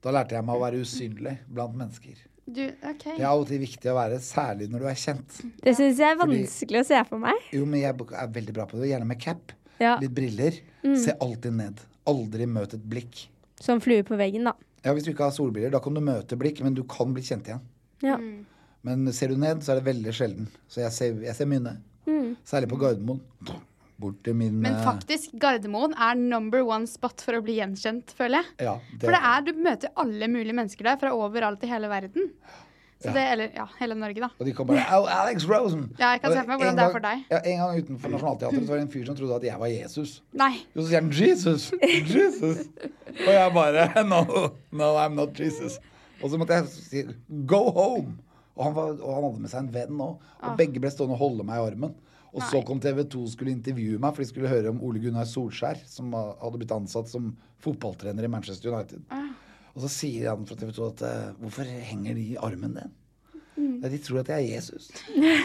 [SPEAKER 4] Da lærte jeg meg å være usynlig blant mennesker.
[SPEAKER 1] Du, OK.
[SPEAKER 4] Det er alltid viktig å være, særlig når du er kjent.
[SPEAKER 3] Det syns jeg er vanskelig å se for meg.
[SPEAKER 4] Jo, men jeg er veldig bra på det. Gjerne med cap,
[SPEAKER 3] Ja. Mm.
[SPEAKER 4] litt briller. Se alltid ned. Aldri møt et blikk.
[SPEAKER 3] Som flue på veggen, da.
[SPEAKER 4] Ja, Hvis du ikke har solbriller, da kan du møte blikk, men du kan bli kjent igjen.
[SPEAKER 3] Ja.
[SPEAKER 1] Mm.
[SPEAKER 4] Men ser du ned, så er det veldig sjelden. Så jeg ser, jeg ser mye ned.
[SPEAKER 3] Mm.
[SPEAKER 4] Særlig på Gardermoen. Bort til min
[SPEAKER 1] Men
[SPEAKER 4] eh,
[SPEAKER 1] faktisk, Gardermoen er number one spot for å bli gjenkjent, føler jeg.
[SPEAKER 4] eh, Ja,
[SPEAKER 1] For det er, du møter alle mulige mennesker der, fra overalt i hele verden. Så det, eller ja, hele Norge, da.
[SPEAKER 4] Og de kom bare Au, Alex Rosen!
[SPEAKER 1] Ja, jeg kan
[SPEAKER 4] Og
[SPEAKER 1] se for meg
[SPEAKER 4] en
[SPEAKER 1] hvordan det er
[SPEAKER 4] gang-
[SPEAKER 1] for deg.
[SPEAKER 4] Ja, En gang utenfor Nationaltheatret så var det en fyr som trodde at jeg var Jesus.
[SPEAKER 1] Nei.
[SPEAKER 4] Og så sier han 'Jesus', 'Jesus'. Og jeg bare 'No, no, I'm not Jesus'. Og så måtte jeg si 'Go home'. Og han, var, og han hadde med seg en venn òg. Og begge ble stående og holde meg i armen. Og så kom TV 2 og skulle intervjue meg, for de skulle høre om Ole Gunnar Solskjær, som ha- hadde blitt ansatt som fotballtrener i Manchester United. Og så sier han fra TV 2 at eh, 'Hvorfor henger de i armen din?' Nei, De tror at jeg er Jesus.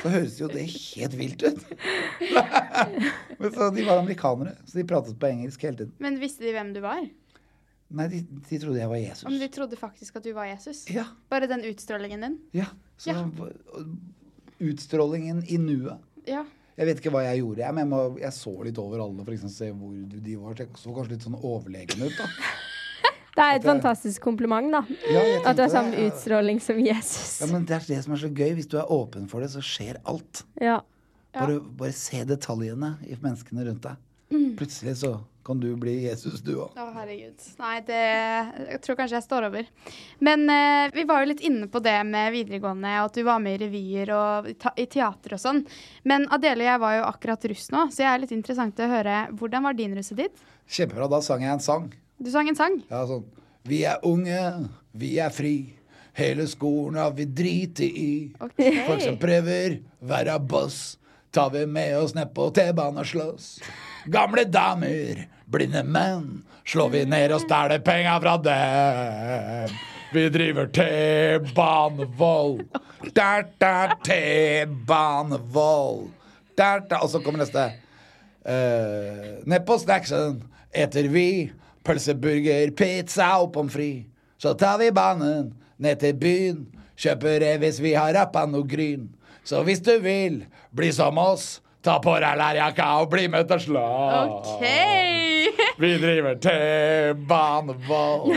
[SPEAKER 4] Så høres jo det helt vilt ut. [laughs] Men så De var amerikanere, så de pratet på engelsk hele tiden.
[SPEAKER 1] Men visste de hvem du var?
[SPEAKER 4] Nei, de, de trodde jeg var Jesus.
[SPEAKER 1] Om de trodde faktisk at du var Jesus?
[SPEAKER 4] Ja.
[SPEAKER 1] Bare den utstrålingen din?
[SPEAKER 4] ja. Så utstrålingen i nuet.
[SPEAKER 1] Ja.
[SPEAKER 4] Jeg vet ikke hva jeg gjorde, jeg, men jeg, må, jeg så litt over alle for eksempel, se hvor de var. Jeg så kanskje litt sånn overlegen ut, da.
[SPEAKER 3] Det er et fantastisk kompliment, da.
[SPEAKER 4] Ja, jeg
[SPEAKER 3] At du
[SPEAKER 4] tenkte
[SPEAKER 3] har samme
[SPEAKER 4] det.
[SPEAKER 3] utstråling som
[SPEAKER 4] Ja,
[SPEAKER 3] Jesus.
[SPEAKER 4] men det er det som er så gøy. Hvis du er åpen for det, så skjer alt.
[SPEAKER 3] Ja.
[SPEAKER 4] Bare, bare se detaljene i menneskene rundt deg. Plutselig så kan du bli Jesus, du òg.
[SPEAKER 1] Å, herregud. Nei, det Jeg tror kanskje jeg står over. Men eh, vi var jo litt inne på det med videregående, og at du var med i revyer og i, ta i teater og sånn. Men Adele og jeg var jo akkurat russ nå, så jeg er litt interessant å høre hvordan var din russetid?
[SPEAKER 4] Kjempebra. Da sang jeg en sang.
[SPEAKER 1] Du sang en sang.
[SPEAKER 4] Ja, sånn. Vi er unge, vi er fri. Hele skolen har vi driti i. Folk som prøver være boss, tar vi med oss ned på T-banen og slåss. Gamle damer, blinde menn, slår vi ned og stjeler penga fra dem. Vi driver T-banevold. Der, der, T-banevold. Der, der. Og så kommer neste. Eh, ned på snacksen eter vi pølseburger, pizza og pommes frites. Så tar vi banen ned til byen, kjøper det hvis vi har rappa noe gryn. Så hvis du vil bli som oss, ta på deg lærjakka og bli med til slag.
[SPEAKER 1] OK!
[SPEAKER 4] Vi driver T-banevoll.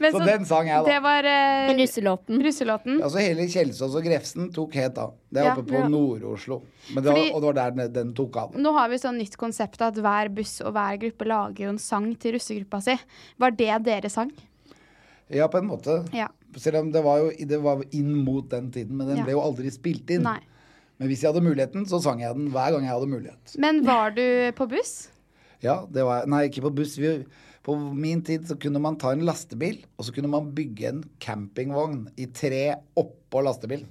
[SPEAKER 1] Men
[SPEAKER 4] Så den sang jeg, da.
[SPEAKER 1] Det var eh,
[SPEAKER 3] Russelåten.
[SPEAKER 1] russelåten.
[SPEAKER 4] Altså hele Kjelsås og Grefsen tok helt av. Det er
[SPEAKER 1] Ja.
[SPEAKER 4] oppe på
[SPEAKER 3] Ja.
[SPEAKER 4] Nord-Oslo. Men det var,
[SPEAKER 1] Fordi-
[SPEAKER 4] og det var der den- den tok av.
[SPEAKER 1] Nå har vi sånn nytt konsept at hver buss og hver gruppe lager jo en sang til russegruppa si. Var det dere sang?
[SPEAKER 4] Ja, på en måte.
[SPEAKER 1] Ja.
[SPEAKER 4] Selv om det var jo det var inn mot den tiden, men den
[SPEAKER 1] Ja.
[SPEAKER 4] ble jo aldri spilt inn.
[SPEAKER 1] Nei.
[SPEAKER 4] Men hvis jeg hadde muligheten, så sang jeg den hver gang jeg hadde mulighet.
[SPEAKER 1] Men var du på buss?
[SPEAKER 4] Ja, det var jeg. Nei, ikke på buss. Vi, på min tid så kunne man ta en lastebil, og så kunne man bygge en campingvogn i tre oppå lastebilen.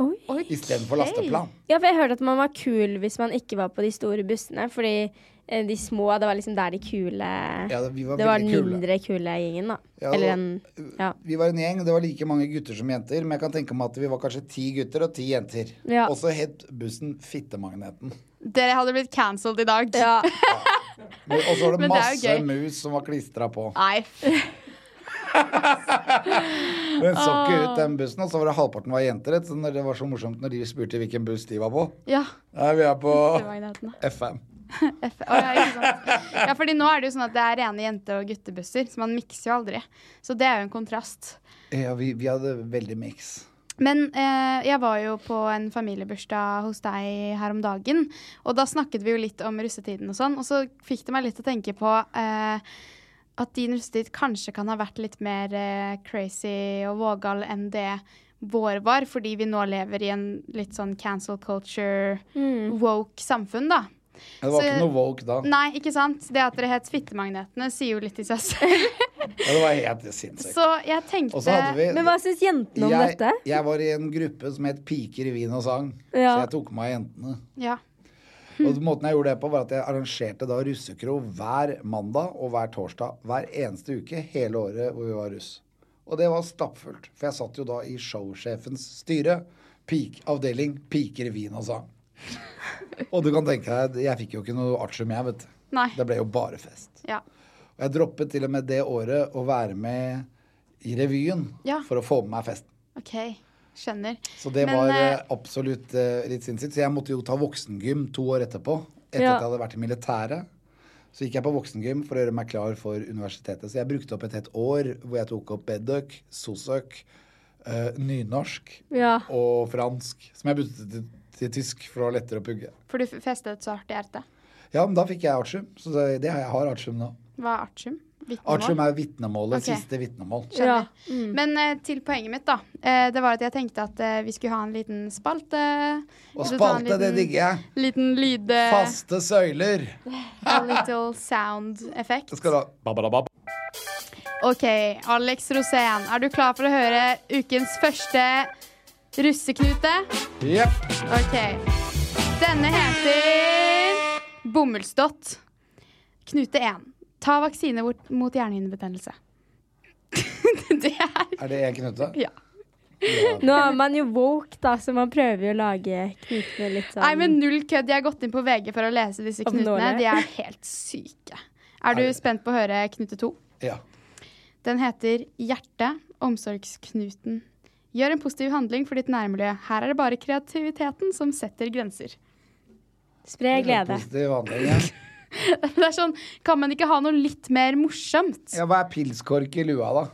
[SPEAKER 3] Oi.
[SPEAKER 4] Istedenfor lasteplan.
[SPEAKER 3] Ja, for jeg hørte at man var kul hvis man ikke var på de store bussene. Fordi eh, de små, det var liksom der de kule
[SPEAKER 4] Ja, vi var
[SPEAKER 3] Det var den
[SPEAKER 4] veldig kule.
[SPEAKER 3] mindre kule gjengen, da.
[SPEAKER 4] Ja, øh,
[SPEAKER 3] Eller
[SPEAKER 4] og-
[SPEAKER 3] den Ja.
[SPEAKER 4] Vi var en gjeng, det var like mange gutter som jenter, men jeg kan tenke meg at vi var kanskje ti gutter og ti jenter.
[SPEAKER 1] Ja.
[SPEAKER 4] Og så het bussen Fittemagneten.
[SPEAKER 1] Dere hadde blitt cancelled i dag.
[SPEAKER 4] Men- Og så var
[SPEAKER 1] [laughs]
[SPEAKER 4] det
[SPEAKER 1] Men det er jo
[SPEAKER 4] masse
[SPEAKER 1] gøy.
[SPEAKER 4] mus som var klistra på.
[SPEAKER 1] [laughs] Nei.
[SPEAKER 4] Den så ikke ut, den bussen. Og så var det halvparten var jenter. Så når det var så morsomt når de spurte hvilken buss de var på.
[SPEAKER 1] Ja.
[SPEAKER 4] Nei, vi er på
[SPEAKER 1] Fittemagneten,
[SPEAKER 4] FM.
[SPEAKER 1] F Å, ja, ikke sant. ja, fordi nå er det jo sånn at det er rene jente- og guttebusser, så man mikser jo aldri. Så det er jo en kontrast.
[SPEAKER 4] Ja, vi, vi hadde veldig mix.
[SPEAKER 1] Men eh, jeg var jo på en familiebursdag hos deg her om dagen, og da snakket vi jo litt om russetiden og sånn, og så fikk det meg litt til å tenke på eh, at din russetid kanskje kan ha vært litt mer eh, crazy og vågal enn det vår var, fordi vi nå lever i en litt sånn cancel culture, woke samfunn, da.
[SPEAKER 4] Ja, det var
[SPEAKER 1] Så-
[SPEAKER 4] ikke noe woke da.
[SPEAKER 1] Nei, ikke sant? Det at dere het Fittemagnetene sier jo litt i seg selv.
[SPEAKER 4] Ja, det var helt sinnssykt.
[SPEAKER 1] Så jeg tenkte
[SPEAKER 4] Og så hadde vi- Men hva
[SPEAKER 3] syns jentene
[SPEAKER 4] Jeg, jeg var i en gruppe som het Piker i vin og sang, så
[SPEAKER 1] Ja.
[SPEAKER 4] jeg tok med meg jentene.
[SPEAKER 1] Ja.
[SPEAKER 4] Og måten jeg gjorde det på, var at jeg arrangerte da russekro hver mandag og hver torsdag. Hver eneste uke hele året hvor vi var russ. Og det var stappfullt. For jeg satt jo da i showsjefens styre. Peak, avdeling piker i vin og sang. Og du kan tenke deg, jeg fikk jo ikke noe artium, jeg, vet du.
[SPEAKER 1] Nei.
[SPEAKER 4] Det ble jo bare fest.
[SPEAKER 1] Ja.
[SPEAKER 4] Og jeg droppet til og med det året å være med i revyen
[SPEAKER 1] Ja.
[SPEAKER 4] for å få med meg festen.
[SPEAKER 1] OK. Skjønner.
[SPEAKER 4] Så det
[SPEAKER 1] Men,
[SPEAKER 4] var eh,
[SPEAKER 1] eh,
[SPEAKER 4] absolutt eh, litt sinnssykt. Så jeg måtte jo ta voksengym to år etterpå. Etter
[SPEAKER 1] Ja.
[SPEAKER 4] at jeg hadde vært i militæret. Så gikk jeg på voksengym for å gjøre meg klar for universitetet. Så jeg brukte opp et helt år hvor jeg tok opp bedøk, sosøk, eh, nynorsk
[SPEAKER 3] Ja.
[SPEAKER 4] og fransk. Som jeg byttet til, til tysk, for det var lettere å pugge.
[SPEAKER 1] For du f- festet så hardt i hjertet.
[SPEAKER 4] Ja, men da fikk jeg artium. Så det, det har jeg har artium nå.
[SPEAKER 1] Hva er artium? Vitnemål?
[SPEAKER 4] Artium er vitnemålet.
[SPEAKER 1] Ok.
[SPEAKER 4] Siste vitnemål.
[SPEAKER 1] Skjønner. Men eh, til poenget mitt, da. Eh, det var at jeg tenkte at eh, vi skulle ha en liten spalte.
[SPEAKER 4] Og
[SPEAKER 1] Vi skulle ta en
[SPEAKER 4] spalte, det
[SPEAKER 1] liten-
[SPEAKER 4] digger jeg.
[SPEAKER 1] Liten lyd... eh,
[SPEAKER 4] Faste søyler.
[SPEAKER 1] A little sound effect.
[SPEAKER 4] Det skal du ha. Babadabab.
[SPEAKER 1] OK, Alex Rosén, er du klar for å høre ukens første russeknute?
[SPEAKER 4] Jepp.
[SPEAKER 1] OK. Denne heter Bomullsdott. Knute 1. Ta vaksine bort- mot hjernehinnebetennelse. [laughs]
[SPEAKER 4] Er det en knute?
[SPEAKER 1] Ja.
[SPEAKER 3] Nå er man jo woke, da, så man prøver jo å lage knutene litt sånn
[SPEAKER 1] Nei, men null kødd. Jeg har gått inn på VG for å lese disse knutene.
[SPEAKER 3] Oppnåelig.
[SPEAKER 1] De er helt syke. Er du spent på å høre knute to?
[SPEAKER 4] Ja.
[SPEAKER 1] Den heter Hjerte, omsorgsknuten. Gjør en positiv handling for ditt nærmiljø. Her er det bare kreativiteten som setter grenser. [laughs]
[SPEAKER 3] sånn Spre glede.
[SPEAKER 4] Positiv handling. ja.
[SPEAKER 1] Det er sånn, Kan man ikke ha noe litt mer morsomt?
[SPEAKER 4] Ja, hva er pilskork i lua, da?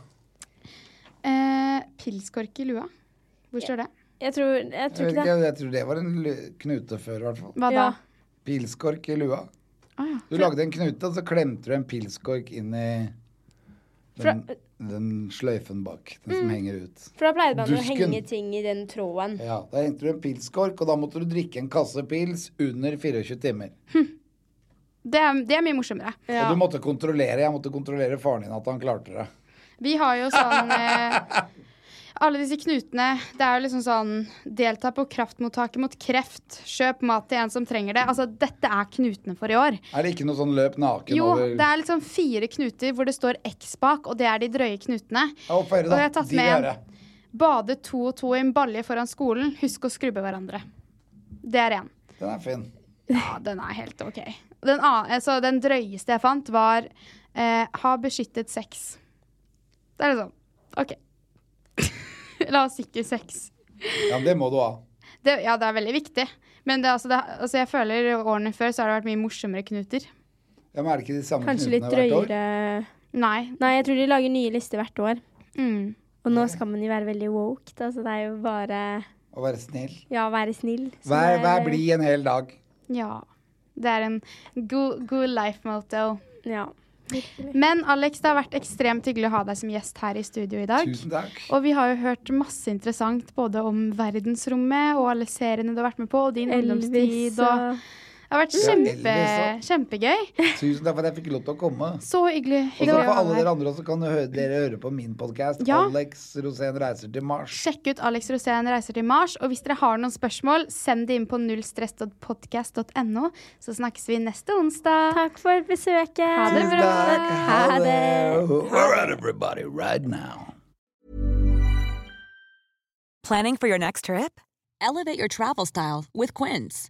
[SPEAKER 1] Eh, pilskork i lua. Hvor står det?
[SPEAKER 3] Jeg tror, jeg tror
[SPEAKER 4] Jeg, vet
[SPEAKER 3] ikke
[SPEAKER 4] ikke,
[SPEAKER 3] det.
[SPEAKER 4] jeg tror det var en lu- knute før, i hvert fall.
[SPEAKER 1] Hva da?
[SPEAKER 4] Pilskork i lua. Du lagde en knute, og så klemte du en pilskork inn i den, den sløyfen bak.
[SPEAKER 1] Mm.
[SPEAKER 4] Den som henger ut.
[SPEAKER 3] For da pleide man å
[SPEAKER 4] Dusken.
[SPEAKER 3] henge ting i den tråden.
[SPEAKER 4] Ja, Da hengte du en pilskork, og da måtte du drikke en kasse pils under 24 timer.
[SPEAKER 1] Det er, det er mye morsommere.
[SPEAKER 4] Og du måtte kontrollere. Jeg måtte kontrollere faren din at han klarte det.
[SPEAKER 1] Vi har jo sånn eh, Alle disse knutene. Det er jo liksom sånn Delta på kraftmottaket mot kreft. Kjøp mat til en som trenger det. Altså, dette er knutene for i år.
[SPEAKER 4] Er det ikke noe sånn løp naken
[SPEAKER 1] Jo,
[SPEAKER 4] over
[SPEAKER 1] det er liksom fire knuter hvor det står X bak, og det er de drøye knutene.
[SPEAKER 4] Ja, og få høre,
[SPEAKER 1] Og
[SPEAKER 4] da.
[SPEAKER 1] jeg har tatt
[SPEAKER 4] De
[SPEAKER 1] med
[SPEAKER 4] vil
[SPEAKER 1] en bade to og to i en balje foran skolen. Husk å skrubbe hverandre. Det er én.
[SPEAKER 4] Den er fin.
[SPEAKER 1] Ja, den er helt OK. Den, an- altså, den drøyeste jeg fant, var eh, ha beskyttet sex. Det er liksom OK. [laughs] La oss sikre sex.
[SPEAKER 4] Ja, men det må du ha.
[SPEAKER 1] Det, ja, det er veldig viktig. Men det, er altså, det, er- altså, jeg føler årene før så har det vært mye morsommere knuter.
[SPEAKER 4] Ja, men er det ikke de samme
[SPEAKER 3] Kanskje litt
[SPEAKER 4] knutene hvert år?
[SPEAKER 3] drøyere
[SPEAKER 1] Nei.
[SPEAKER 3] Nei, jeg tror de lager nye lister hvert år.
[SPEAKER 1] Mm.
[SPEAKER 3] Og nå skal man jo være veldig woke, da, så det er jo bare
[SPEAKER 4] Å være snill.
[SPEAKER 3] ja, være snill. som
[SPEAKER 4] Vær,
[SPEAKER 3] er-
[SPEAKER 4] vær blid en hel dag.
[SPEAKER 1] Ja. Det er en god, god life motto.
[SPEAKER 3] Ja.
[SPEAKER 1] Men Alex, det har vært ekstremt hyggelig å ha deg som gjest her i studio i dag.
[SPEAKER 4] Tusen takk.
[SPEAKER 1] Og vi har jo hørt masse interessant både om verdensrommet og alle seriene du har vært med på, og din
[SPEAKER 3] Elvis,
[SPEAKER 1] ungdomstid
[SPEAKER 3] og-
[SPEAKER 1] og Det har vært
[SPEAKER 4] Ja,
[SPEAKER 1] kjempe,
[SPEAKER 4] Elvis
[SPEAKER 1] kjempegøy.
[SPEAKER 4] Tusen takk for at jeg fikk lov til å komme.
[SPEAKER 1] Så hyggelig.
[SPEAKER 4] Og så
[SPEAKER 1] hyggelig å
[SPEAKER 4] for
[SPEAKER 1] ha
[SPEAKER 4] alle
[SPEAKER 1] deg.
[SPEAKER 4] dere andre også kan dere høre, dere høre på min podkast
[SPEAKER 1] Ja.
[SPEAKER 4] Alex Rosén reiser til Mars.
[SPEAKER 1] Sjekk ut Alex Rosén reiser til Mars. Og hvis dere har noen spørsmål, send det inn på nullstress.podcast.no, så snakkes vi neste onsdag.
[SPEAKER 3] Takk for besøket.
[SPEAKER 1] Ha det bra.
[SPEAKER 4] Ha det. All right, everybody, right now.
[SPEAKER 5] Planning for your next trip? Elevate your travel style with Quince.